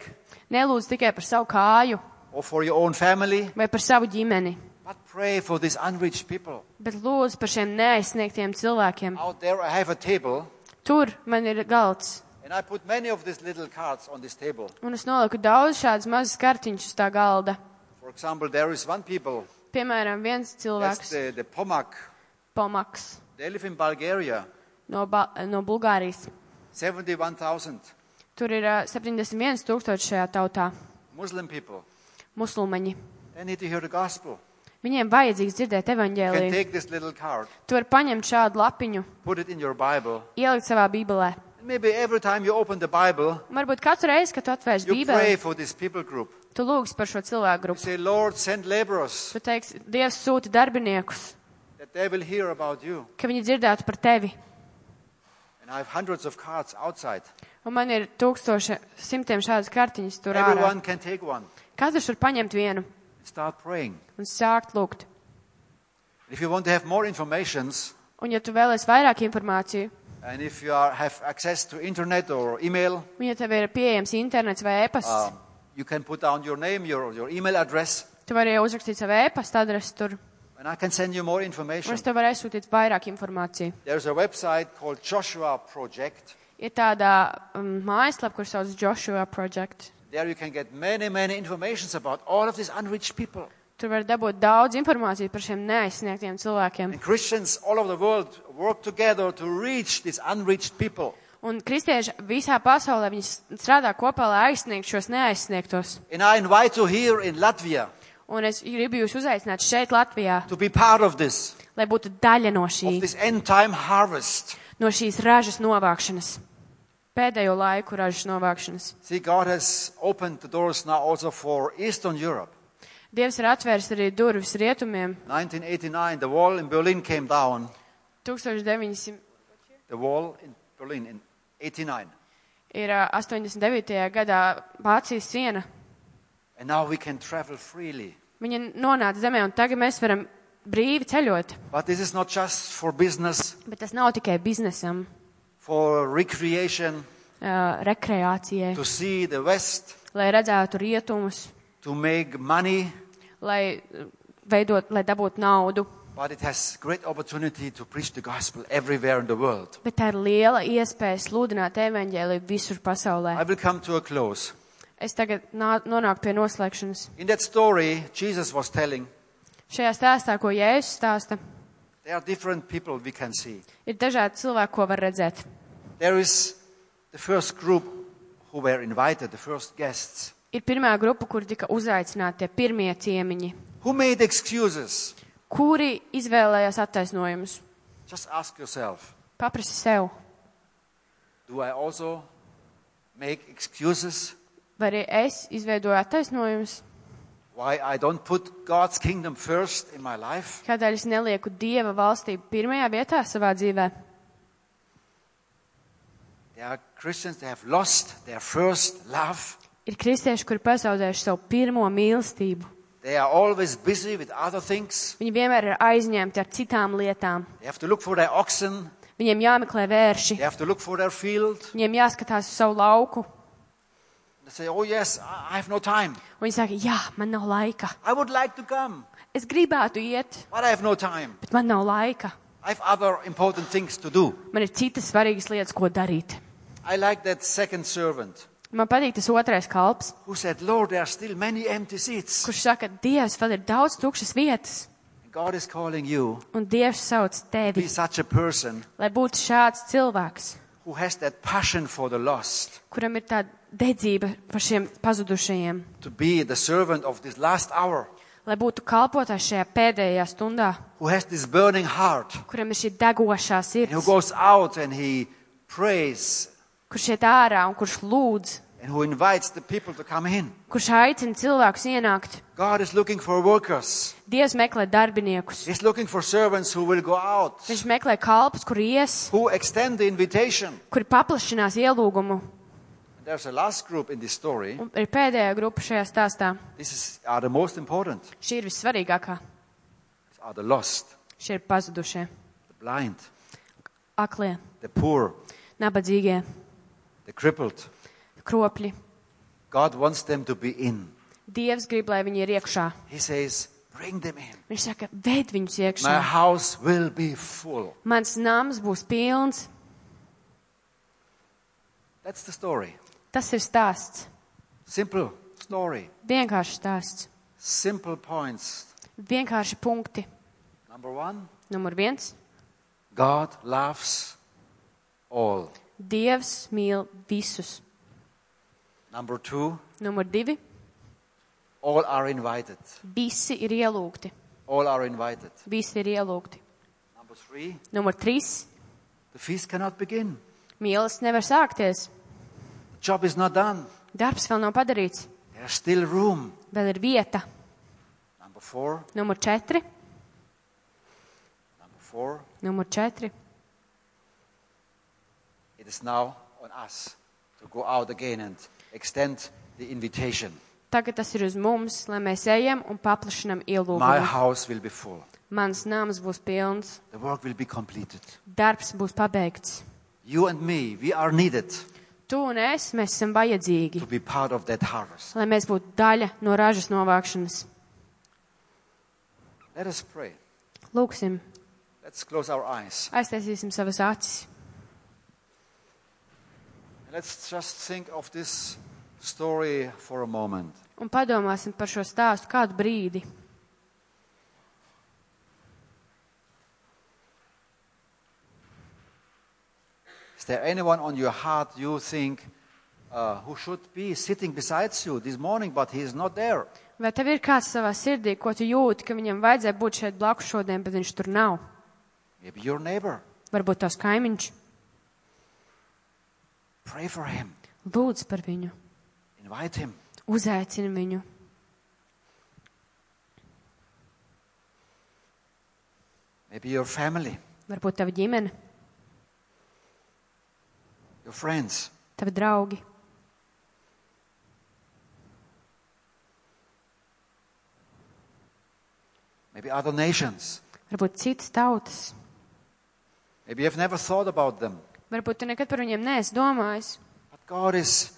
Nelūdz tikai par savu kāju
or for your own family,
vai par savu ģimeni,
but pray for these unreached people.
bet lūdz par šiem neaizsniegtiem cilvēkiem.
Out there, I have a table,
Tur man ir galds,
and I put many of these little cards on this table.
un es noliku daudz šādas mazas kartiņas uz tā galda.
For example, there is one people,
Piemēram, viens
that's
cilvēks,
the, the Pomak.
Pomaks,
They live in Bulgaria,
no, ba no Bulgārijas.
71,000
Tur ir 71,000 šajā tautā
Muslim people.
musulmaņi.
They need to hear the gospel.
Viņiem vajadzīgs dzirdēt
You can
evaņģēlīju.
take this little card,
Tu vari paņemt šādu lapiņu,
put it in your Bible,
ielikt savā bībelē.
and maybe every time you open the Bible,
Un Varbūt katru reizi, kad tu atvērsi
you pray
bībeli,
for this people group.
tu lūgsi par šo cilvēku
You
grupu.
say, Lord, send laborers
Tu teiksi, Dievs sūta darbiniekus,
that they will hear about you.
ka viņi dzirdētu par tevi.
And I have hundreds of cards outside.
Un man ir tūkstoši, simtiem šādas kartiņas tur ārā.
Everyone can take one
Katrs var paņemt vienu
and start praying.
un sākt lūgt.
If you want to have more informations,
Un ja tu vēlies vairāk informāciju,
and if you are, have access to internet or email,
un ja tev ir pieejams internets vai e-pasts,
Um, you can put down your name, your, your email address,
Tu vari uzrakstīt savu e-pasta adresi tur,
and I can send you more
un
information.
es tev varu aizsūtīt vairāk informāciju.
There's a website called Joshua Project.
Ir tāda um, mājaslapa, kur sauc Joshua Project.
There you can get many, many informations about all of these unreached people.
Tur var dabūt daudz informācijas par šiem neaizsniegtiem cilvēkiem.
And Christians all over the world work together to reach these unreached people.
Un kristieši visā pasaulē viņi s- strādā kopā, lai aizsniegtu šos neaizsniegtos.
And I invite you here in Latvia
Un es gribu jūs uzaicināt šeit, Latvijā,
to be part of this,
lai būtu daļa no,
of
šī,
this end time harvest.
no šīs ražas novākšanas. Pēdējo laiku ražas novākšanas.
See, God has opened the doors now also for Eastern Europe.
Dievs ir atvērs arī durvis rietumiem.
1989, the wall in Berlin came down.
1900.
The wall in Berlin in 89.
ir ā, 89. gadā Vācijas siena.
And now we can travel freely.
Viņa nonāca zemē, un tagad mēs varam brīvi ceļot.
But this is not just for business,
Bet tas nav tikai biznesam,
for recreation,
ā, rekreācijai,
to see the West,
lai redzētu rietumus,
to make money,
lai, eh, veidot, lai dabūtu naudu.
But it has great opportunity to preach the gospel everywhere in the world.
Bet tā ir liela iespēja sludināt evaņģēliju visur pasaulē.
I will come to a close.
Es tagad nā- nonāku pie noslēgšanas.
In that story, Jesus was telling
Šajā stāstā, ko Jēzus stāsta,
there are different people we can see.
ir dažādi cilvēki, ko var redzēt.
There is the first group who were invited, the first guests,
Ir pirmā grupa, kur tika uzaicināti tie pirmie ciemiņi,
who made excuses.
kuri izvēlējās attaisnojumus.
Just ask yourself
Paprasti sev,
do I also make excuses
vai arī es izveidoju attaisnojumus,
why I don't put God's kingdom first in my life?
kādēļ es nelieku dieva valstību pirmajā vietā savā dzīvē.
There are Christians that have lost their first love.
Ir kristieši, kuri pazaudējuši savu pirmo mīlestību.
They are always busy with other things.
Viņi vienmēr ir aizņemti ar citām lietām.
They have to look for their oxen.
Viņiem jāmeklē vērši,
They have to look for their field.
viņiem jāskatās uz savu lauku.
They say, Oh, yes, I I have no time.
Un Viņi saka, jā, man nav laika.
I would like to come,
Es gribētu iet,
but I have no time.
bet man nav laika.
I have other important things to do.
Man ir citas svarīgas lietas, ko darīt.
I like that second servant
Man patīk tas otrais kalps,
who said, Lord, there are still many empty seats.
kurš saka, Dievs, vēl ir daudz tukšas vietas,
God is calling you
un Dievs sauc
to be
tevi,
such a person
lai būtu šāds cilvēks,
who has that passion for the lost,
kuram ir tāda dedzība par šiem pazudušajiem,
to be the servant of this last hour,
lai būtu kalpotājs šajā pēdējā stundā,
who has this burning heart,
kuram ir šī degošā
and who
sirds,
goes out and he prays
kurš iet ārā un kurš lūdz,
and who invites the people to come in.
kurš aicina cilvēkus ienākt.
God is looking for workers.
Dievs meklē darbiniekus.
He's looking for servants who will go out,
Viņš meklē kalpus, kur ies,
who extend the invitation.
kuri paplašinās ielūgumu.
There's a last group in this story.
Un ir pēdējā grupa šajā stāstā.
This is, are the most important.
Šī ir vissvarīgākā.
Are the lost,
Šie ir pazudušie,
the blind,
aklie,
the poor,
nabadzīgie,
the crippled.
kropļi.
God wants them to be in.
Dievs grib, lai viņi ir iekšā.
He says, "Bring them in.
Viņš saka, veid viņus iekšā.
My house will be full."
Mans nams būs pilns.
That's the story.
Tas ir stāsts.
Simple story.
Vienkārši stāsts.
Simple points.
Vienkārši punkti.
Number 1,
Numur viens.
God loves all.
Dievs mīl visus.
Number 2,
Numur divi.
all are invited.
Visi ir ielūgti.
All are invited.
Visi ir ielūgti.
Number three,
Numur trīs.
the feast cannot begin.
Mīlestība nevar sākties.
The job is not done.
Darbs vēl nav padarīts.
There's still room.
Vēl ir vieta.
Number four,
Numur četri.
number four,
Numur četri.
it is now on us to go out again and extend the invitation.
Tagad tas ir uz mums, lai mēs ejam un paplašinam
My
ielūgumu.
house will be full.
Mans nams būs pilns,
The work will be completed.
darbs būs pabeigts.
You and me, we are needed
Tu un es, mēs esam vajadzīgi,
to be part of that harvest.
lai mēs būtu daļa no ražas novākšanas.
Let us pray.
Lūksim,
Let's close our eyes.
aiztaisīsim savas acis.
Let's just think of this story for a moment.
Un padomāsim par šo stāstu kādu brīdi.
Is there anyone on your heart you think uh, who should be sitting beside you this morning, but he is not there?
Vai tev ir kāds savā sirdī, ko tu jūti, ka viņam vajadzēja būt šeit blakus šodien, bet viņš tur nav?
Maybe your neighbor.
Varbūt tās kaimiņš.
Pray for him.
Lūdz par viņu,
Invite him.
uzaicini viņu.
Maybe your family,
Varbūt tava ģimene,
your friends.
tavi draugi.
Maybe other nations.
Varbūt citas tautas.
Maybe you've never thought about them.
Varbūt tu nekad par viņiem neesi domājis,
But God is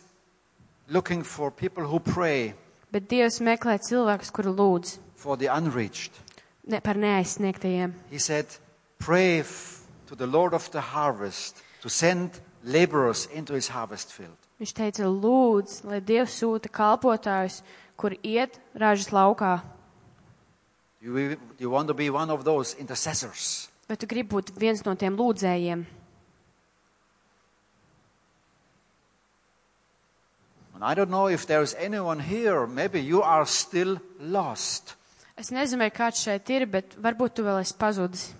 looking for people who pray
bet Dievs meklē cilvēkus, kuri lūdz.
for the unreached.
ne, par neaizsniegtajiem.
He said, Pray f- to the Lord of the harvest to send laborers into his harvest field.
Viņš teica, lūdz, lai Dievs sūta kalpotājus, kur iet ražas laukā.
You, will- you want to be one of those intercessors.
Bet tu gribi būt viens no tiem lūdzējiem.
And I don't know if there is anyone here, maybe you are still lost.
Es nezinu, vai kāds šeit ir, bet varbūt tu vēl esi pazudis.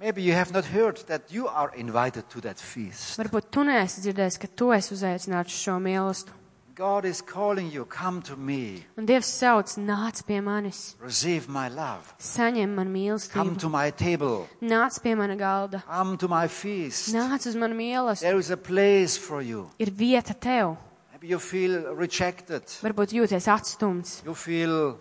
Maybe you have not heard that you are invited to that feast.
Varbūt tu neesi dzirdējis, ka tu esi uzaicināts uz šo mīlestību.
God is calling you, Come to me,
Un Dievs sauc, nāc pie manis,
receive my love,
saņem man
come
mīlestību,
to my table,
nāc pie mana galda,
come to my feast.
nāc uz manu mīlestību.
There is a place for you.
Ir vieta tev,
Maybe you feel rejected.
varbūt jūties atstumts.
You feel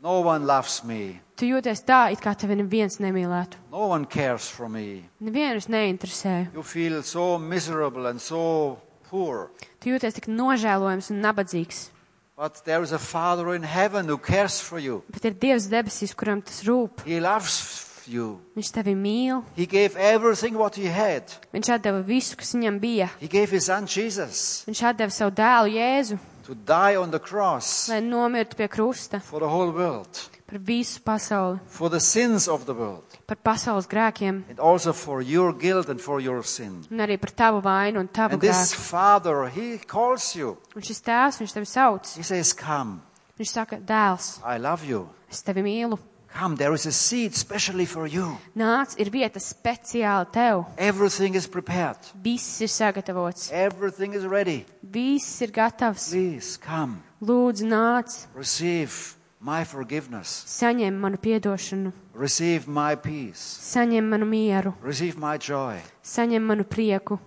no one loves me,
Tu jūties tā, it kā tevi neviens nemīlētu.
no one cares for me.
Nevienu es neinteresēju.
You feel so miserable and so poor.
Tu jūties tik nožēlojams un nabadzīgs.
But there is a Father in heaven who cares for you.
Bet ir Dievs debesīs, kuram tas rūp.
He loves you.
Viņš tevi mīl,
He gave everything what he had.
viņš atdeva visu, kas viņam bija.
He gave his son Jesus
Viņš atdeva savu dēlu Jēzu,
to die on the cross
lai nomirtu pie krusta
for the whole world,
par visu pasauli,
for the sins of the world,
par pasaules grēkiem
and also for your guilt and for your sin.
un arī par tavu vainu un tavu
And this
grēku.
Father, he calls you.
Un šis tēvs, viņš tevi sauc.
He says, Come,
Viņš saka, dēls,
I love you.
es tevi mīlu.
Come, there is a seat specially for you.
Nāc, ir vieta speciāli tev.
Everything is prepared.
Viss ir sagatavots,
Everything is ready.
viss ir gatavs.
Please come,
Lūdzu, nāc,
receive my forgiveness,
saņem manu piedošanu,
receive my peace,
saņem manu mieru,
receive my joy.
saņem manu prieku.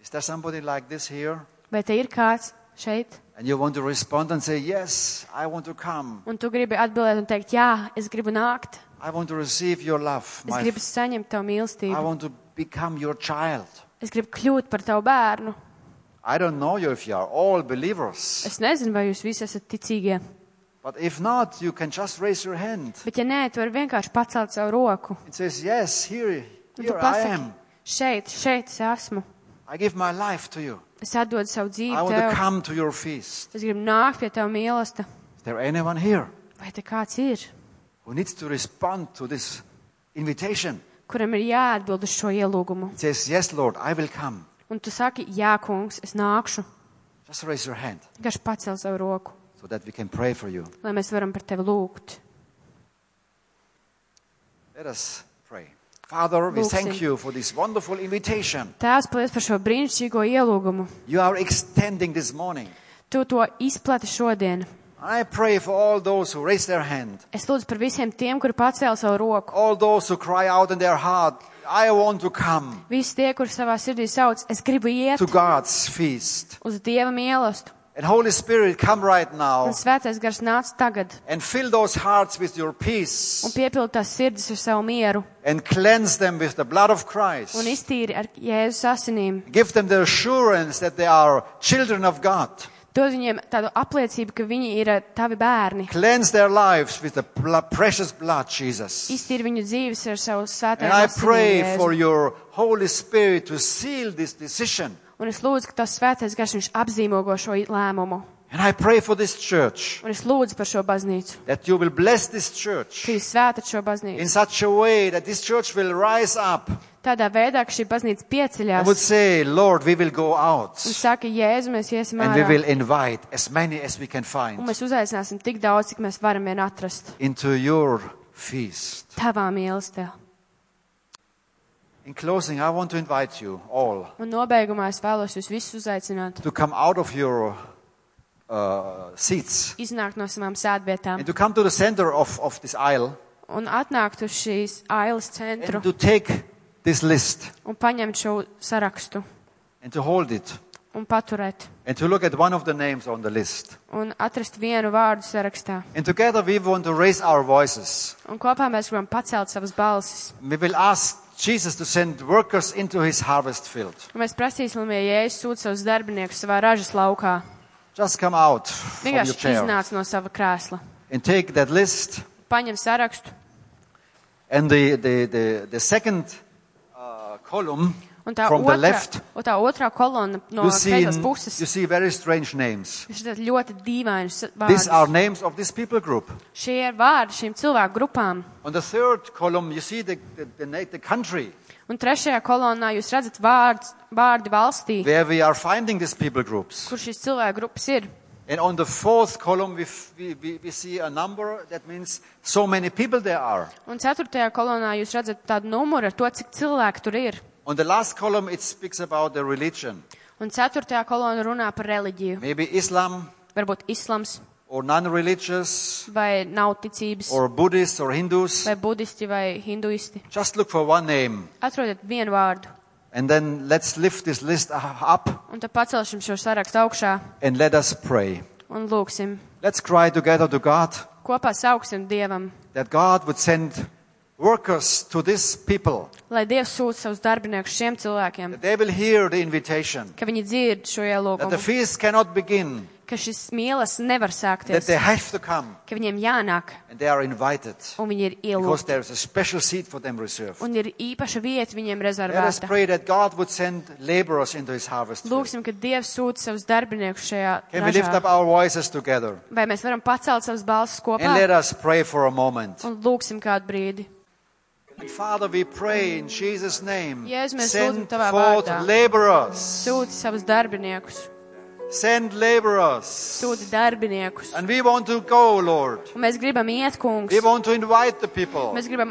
Is there somebody like this here?
Vai te ir kāds šeit?
And you want to respond and say, Yes, I want to come.
Un tu gribi atbildēt un teikt, jā, es gribu nākt,
I want to receive your love.
es
My
gribu saņemt tavu
I
mīlestību,
want to become your child.
es gribu kļūt par tavu bērnu.
I don't know you if you are all believers,
Es nezinu, vai jūs visi esat ticīgie,
but if not, you can just raise your hand.
bet ja nē, tu vari vienkārši pacelt savu roku.
It says, Yes, here,
Un tu
here I
pasaki,
am.
šeit, šeit es esmu,
I give my life to you.
es atdodu
I
savu dzīvi
want to
tev,
come to your feast.
es gribu nākt pie tavu mīlestību.
Is there anyone here
Vai te kāds ir,
who needs to respond to this invitation?
kuram ir jāatbild uz šo ielūgumu?
It says, Yes, Lord, I will come.
Un tu saki, jā, kungs, es nākšu.
Just raise your hand
Vienkārši pacel savu roku,
so that we can pray for you.
lai mēs varam par tevi lūgt.
Let us pray. Father, we
Lūgsim.
thank you for this wonderful invitation
Tēvs, paldies par šo brīnišķīgo ielūgumu.
you are extending this morning.
Tu to izplati šodien.
I pray for all those who raise their hand,
Es lūdzu par visiem tiem, kuri pacēla savu roku.
all those who cry out in their heart, I want to come
Visi tie, kuri savā sirdī sauc, es gribu iet
to God's feast.
uz Dieva mīlestību.
And Holy Spirit, come right
Un
now
svētais gars nāca tagad
and fill those hearts with your
un
peace
piepilda tās sirdis ar savu mieru
and cleanse them with the blood of
un
Christ.
iztīri ar Jēzus asinīm.
Give them the assurance that they are children of God.
Dod viņiem tādu apliecību, ka viņi ir eh, tavi bērni.
Cleanse their lives with the bl- precious blood, Jesus.
Iztīri viņu dzīves ar savu
And I pray for
svētību.
your Holy Spirit to seal this decision.
Un es lūdzu, ka tas svētais gars viņš apzīmogo šo i- lēmumu.
And I pray for this church.
Un es lūdzu par šo baznīcu.
that you will bless this church
Ka jūs svētat šo baznīcu.
in such a way that this church will rise up
Tādā veidā, ka šī baznīca
and would
pieceļās
say, Lord, we will go out
un saka, Jēzu, mēs iesim
and we
ārā.
will invite as many as we can
Un
find
mēs uzaicināsim tik daudz, cik mēs varam vien atrast.
into your feast.
Tavā mīlestībā.
In closing, I want to invite you all
Un nobeigumā es vēlos jūs visus uzaicināt.
to come out of your uh, seats
Iznākt no savām sēdvietām
and to come to the center of, of this aisle
un atnākt uz šīs ailes centru
and to take this list
un paņemt šo sarakstu
and to hold it
un paturēt
and to look at one of the names on the list.
un atrast vienu vārdu sarakstā.
And together we want to raise our voices.
Un kopā mēs gribam pacelt savas balsis.
We will ask Jesus to send workers into his harvest field.
Un mēs prasīsim, lai Jēzus sūta savus darbiniekus savā ražas laukā.
Just come out from your
Vienkārši
chair
iznāc no sava krēsla.
and take that list.
Paņem sarakstu.
And the, the, the, the second uh, column
Un tā
from the
otrā,
left,
un tā otrā kolona no
you see,
kreisās
you
puses.
see very strange names.
Viņš ir ļoti dīvains.
These are names of this people group.
Šie ir vārdi šīm cilvēku grupām.
On the third column, you see the, the, the, na- the country
Un trešajā kolonā jūs redzat vārds, vārdi valstī,
where we are finding these people groups.
kur šīs cilvēku grupas ir.
And on the fourth column, we, f- we, we, we see a number that means so many people there are.
Un ceturtajā kolonā jūs redzat tādu numuru ar to, cik cilvēku tur ir.
On the last column, it speaks about the religion.
Un ceturtajā kolona runā par reliģiju.
Maybe Islam
Varbūt islams,
or non-religious
vai nav ticības,
or Buddhists or Hindus.
vai budisti, vai hinduisti.
Just look for one name
Atrodiet vienu vārdu.
and then let's lift this list up
Un tad pacelsim šo sarakstu augšā
and let us pray.
un lūksim.
Let's cry together to God
Kopā sauksim Dievam,
that God would send workers to this people.
lai Dievs sūta savus darbiniekus šiem cilvēkiem,
That they will hear the invitation.
ka viņi dzird šo
That the
ielūgumu,
feast cannot begin.
ka šis mīlas nevar
That
sākties,
they have to come
ka viņiem jānāk
and they are invited.
un viņi ir
Because
ielūgti.
there is a special seat for them reserved.
Un ir īpaša vieta viņiem
Let us
rezervēta.
pray that God would send laborers into his harvest. field.
Lūksim, ka Dievs sūta savus darbiniekus šajā
Can we lift up
ražā.
our voices together
Vai mēs varam pacelt savus balsis
and let
kopā
us pray for a moment?
un lūksim kādu brīdi.
Father, we pray in Jesus' name.
Jēzus, mēs
Send
lūdzam tavā
forth
vārdā.
laborers.
Sūti savus darbiniekus,
Send laborers.
sūti darbiniekus.
And we want to go, Lord.
Un mēs gribam iet, kungs.
We want to invite the people
Mēs gribam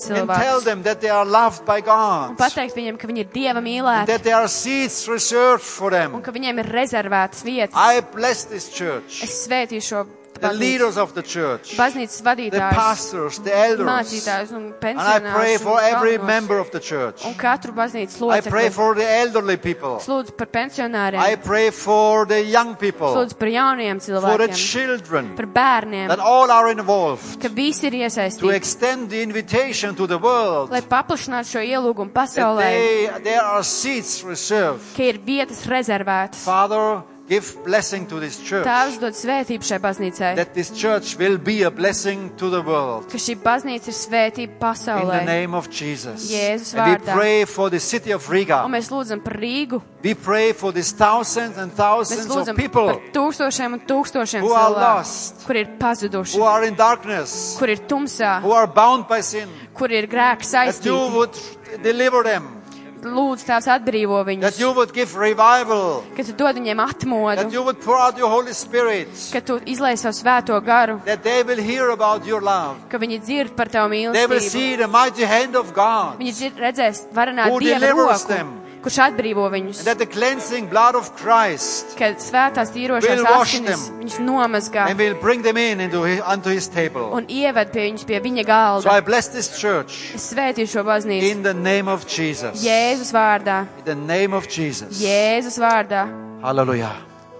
and tell
cilvēkus
them that they are loved by
un
God.
pateikt viņiem, ka viņi ir Dieva mīlēti
That there are seats reserved for
un
them.
ka viņiem ir rezervētas vietas.
I bless this church.
Es svētīju šo
The
baznīcu,
leaders of the church.
baznīcas
The
vadītājus,
pastors, the elders. And
mācītājus un
I pray
pensionārus un
for every
galvenos.
member of the church.
un katru baznīcas
I pray
locekli.
for the elderly people.
Es lūdzu par
I
pensionāriem,
pray for the young
es
people.
lūdzu par jauniem
For the
cilvēkiem,
children.
par bērniem,
that all are involved
ka visi ir
to
iesaistīti,
extend the invitation to the world.
lai paplašinātu šo ielūgumu
That
pasaulē,
they, there are seats reserved.
ka ir vietas rezervētas.
Father, give blessing to this church.
Tēvs dod svētību šai baznīcai,
That this church will be a blessing to the world.
ka šī baznīca ir svētība
In the
pasaulē.
name of Jesus.
Jēzus
And we
vārdā.
pray for the city of
Un
Riga.
mēs lūdzam par Rīgu,
We pray for these thousands and
mēs
thousands of
lūdzam par
people
tūkstošiem un tūkstošiem
Who are
cilvēku,
lost.
kur ir pazuduši,
who are in darkness,
kur ir tumsā,
who are bound by sin.
kur ir grēks
That you
saistīti.
would deliver them.
Lūdzu, tās atbrīvo
That
viņus,
you would give revival.
ka tu dod viņiem atmodu.
That you would pour out your Holy Spirit.
ka tu izlai savu svēto garu,
that they will hear about your love.
ka viņi dzird par tavu
They will
mīlestību.
see the mighty hand of God.
Viņi dzird, redzēs varenā
Who
dieva
delivers
roku,
them.
kurš atbrīvo viņus,
And that the cleansing blood of Christ
ka svētās tīrošās
Will wash
asinis
them.
viņus nomazgā
and will bring them in into his, unto his table.
un ieved pie viņus pie viņa
So
galda.
I bless this church
Es svētīšu šo baznīcu
in the name of Jesus.
Jēzus vārdā,
In the name of Jesus.
Jēzus vārdā.
Hallelujah.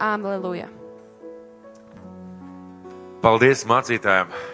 Aleluja!
Paldies mācītājiem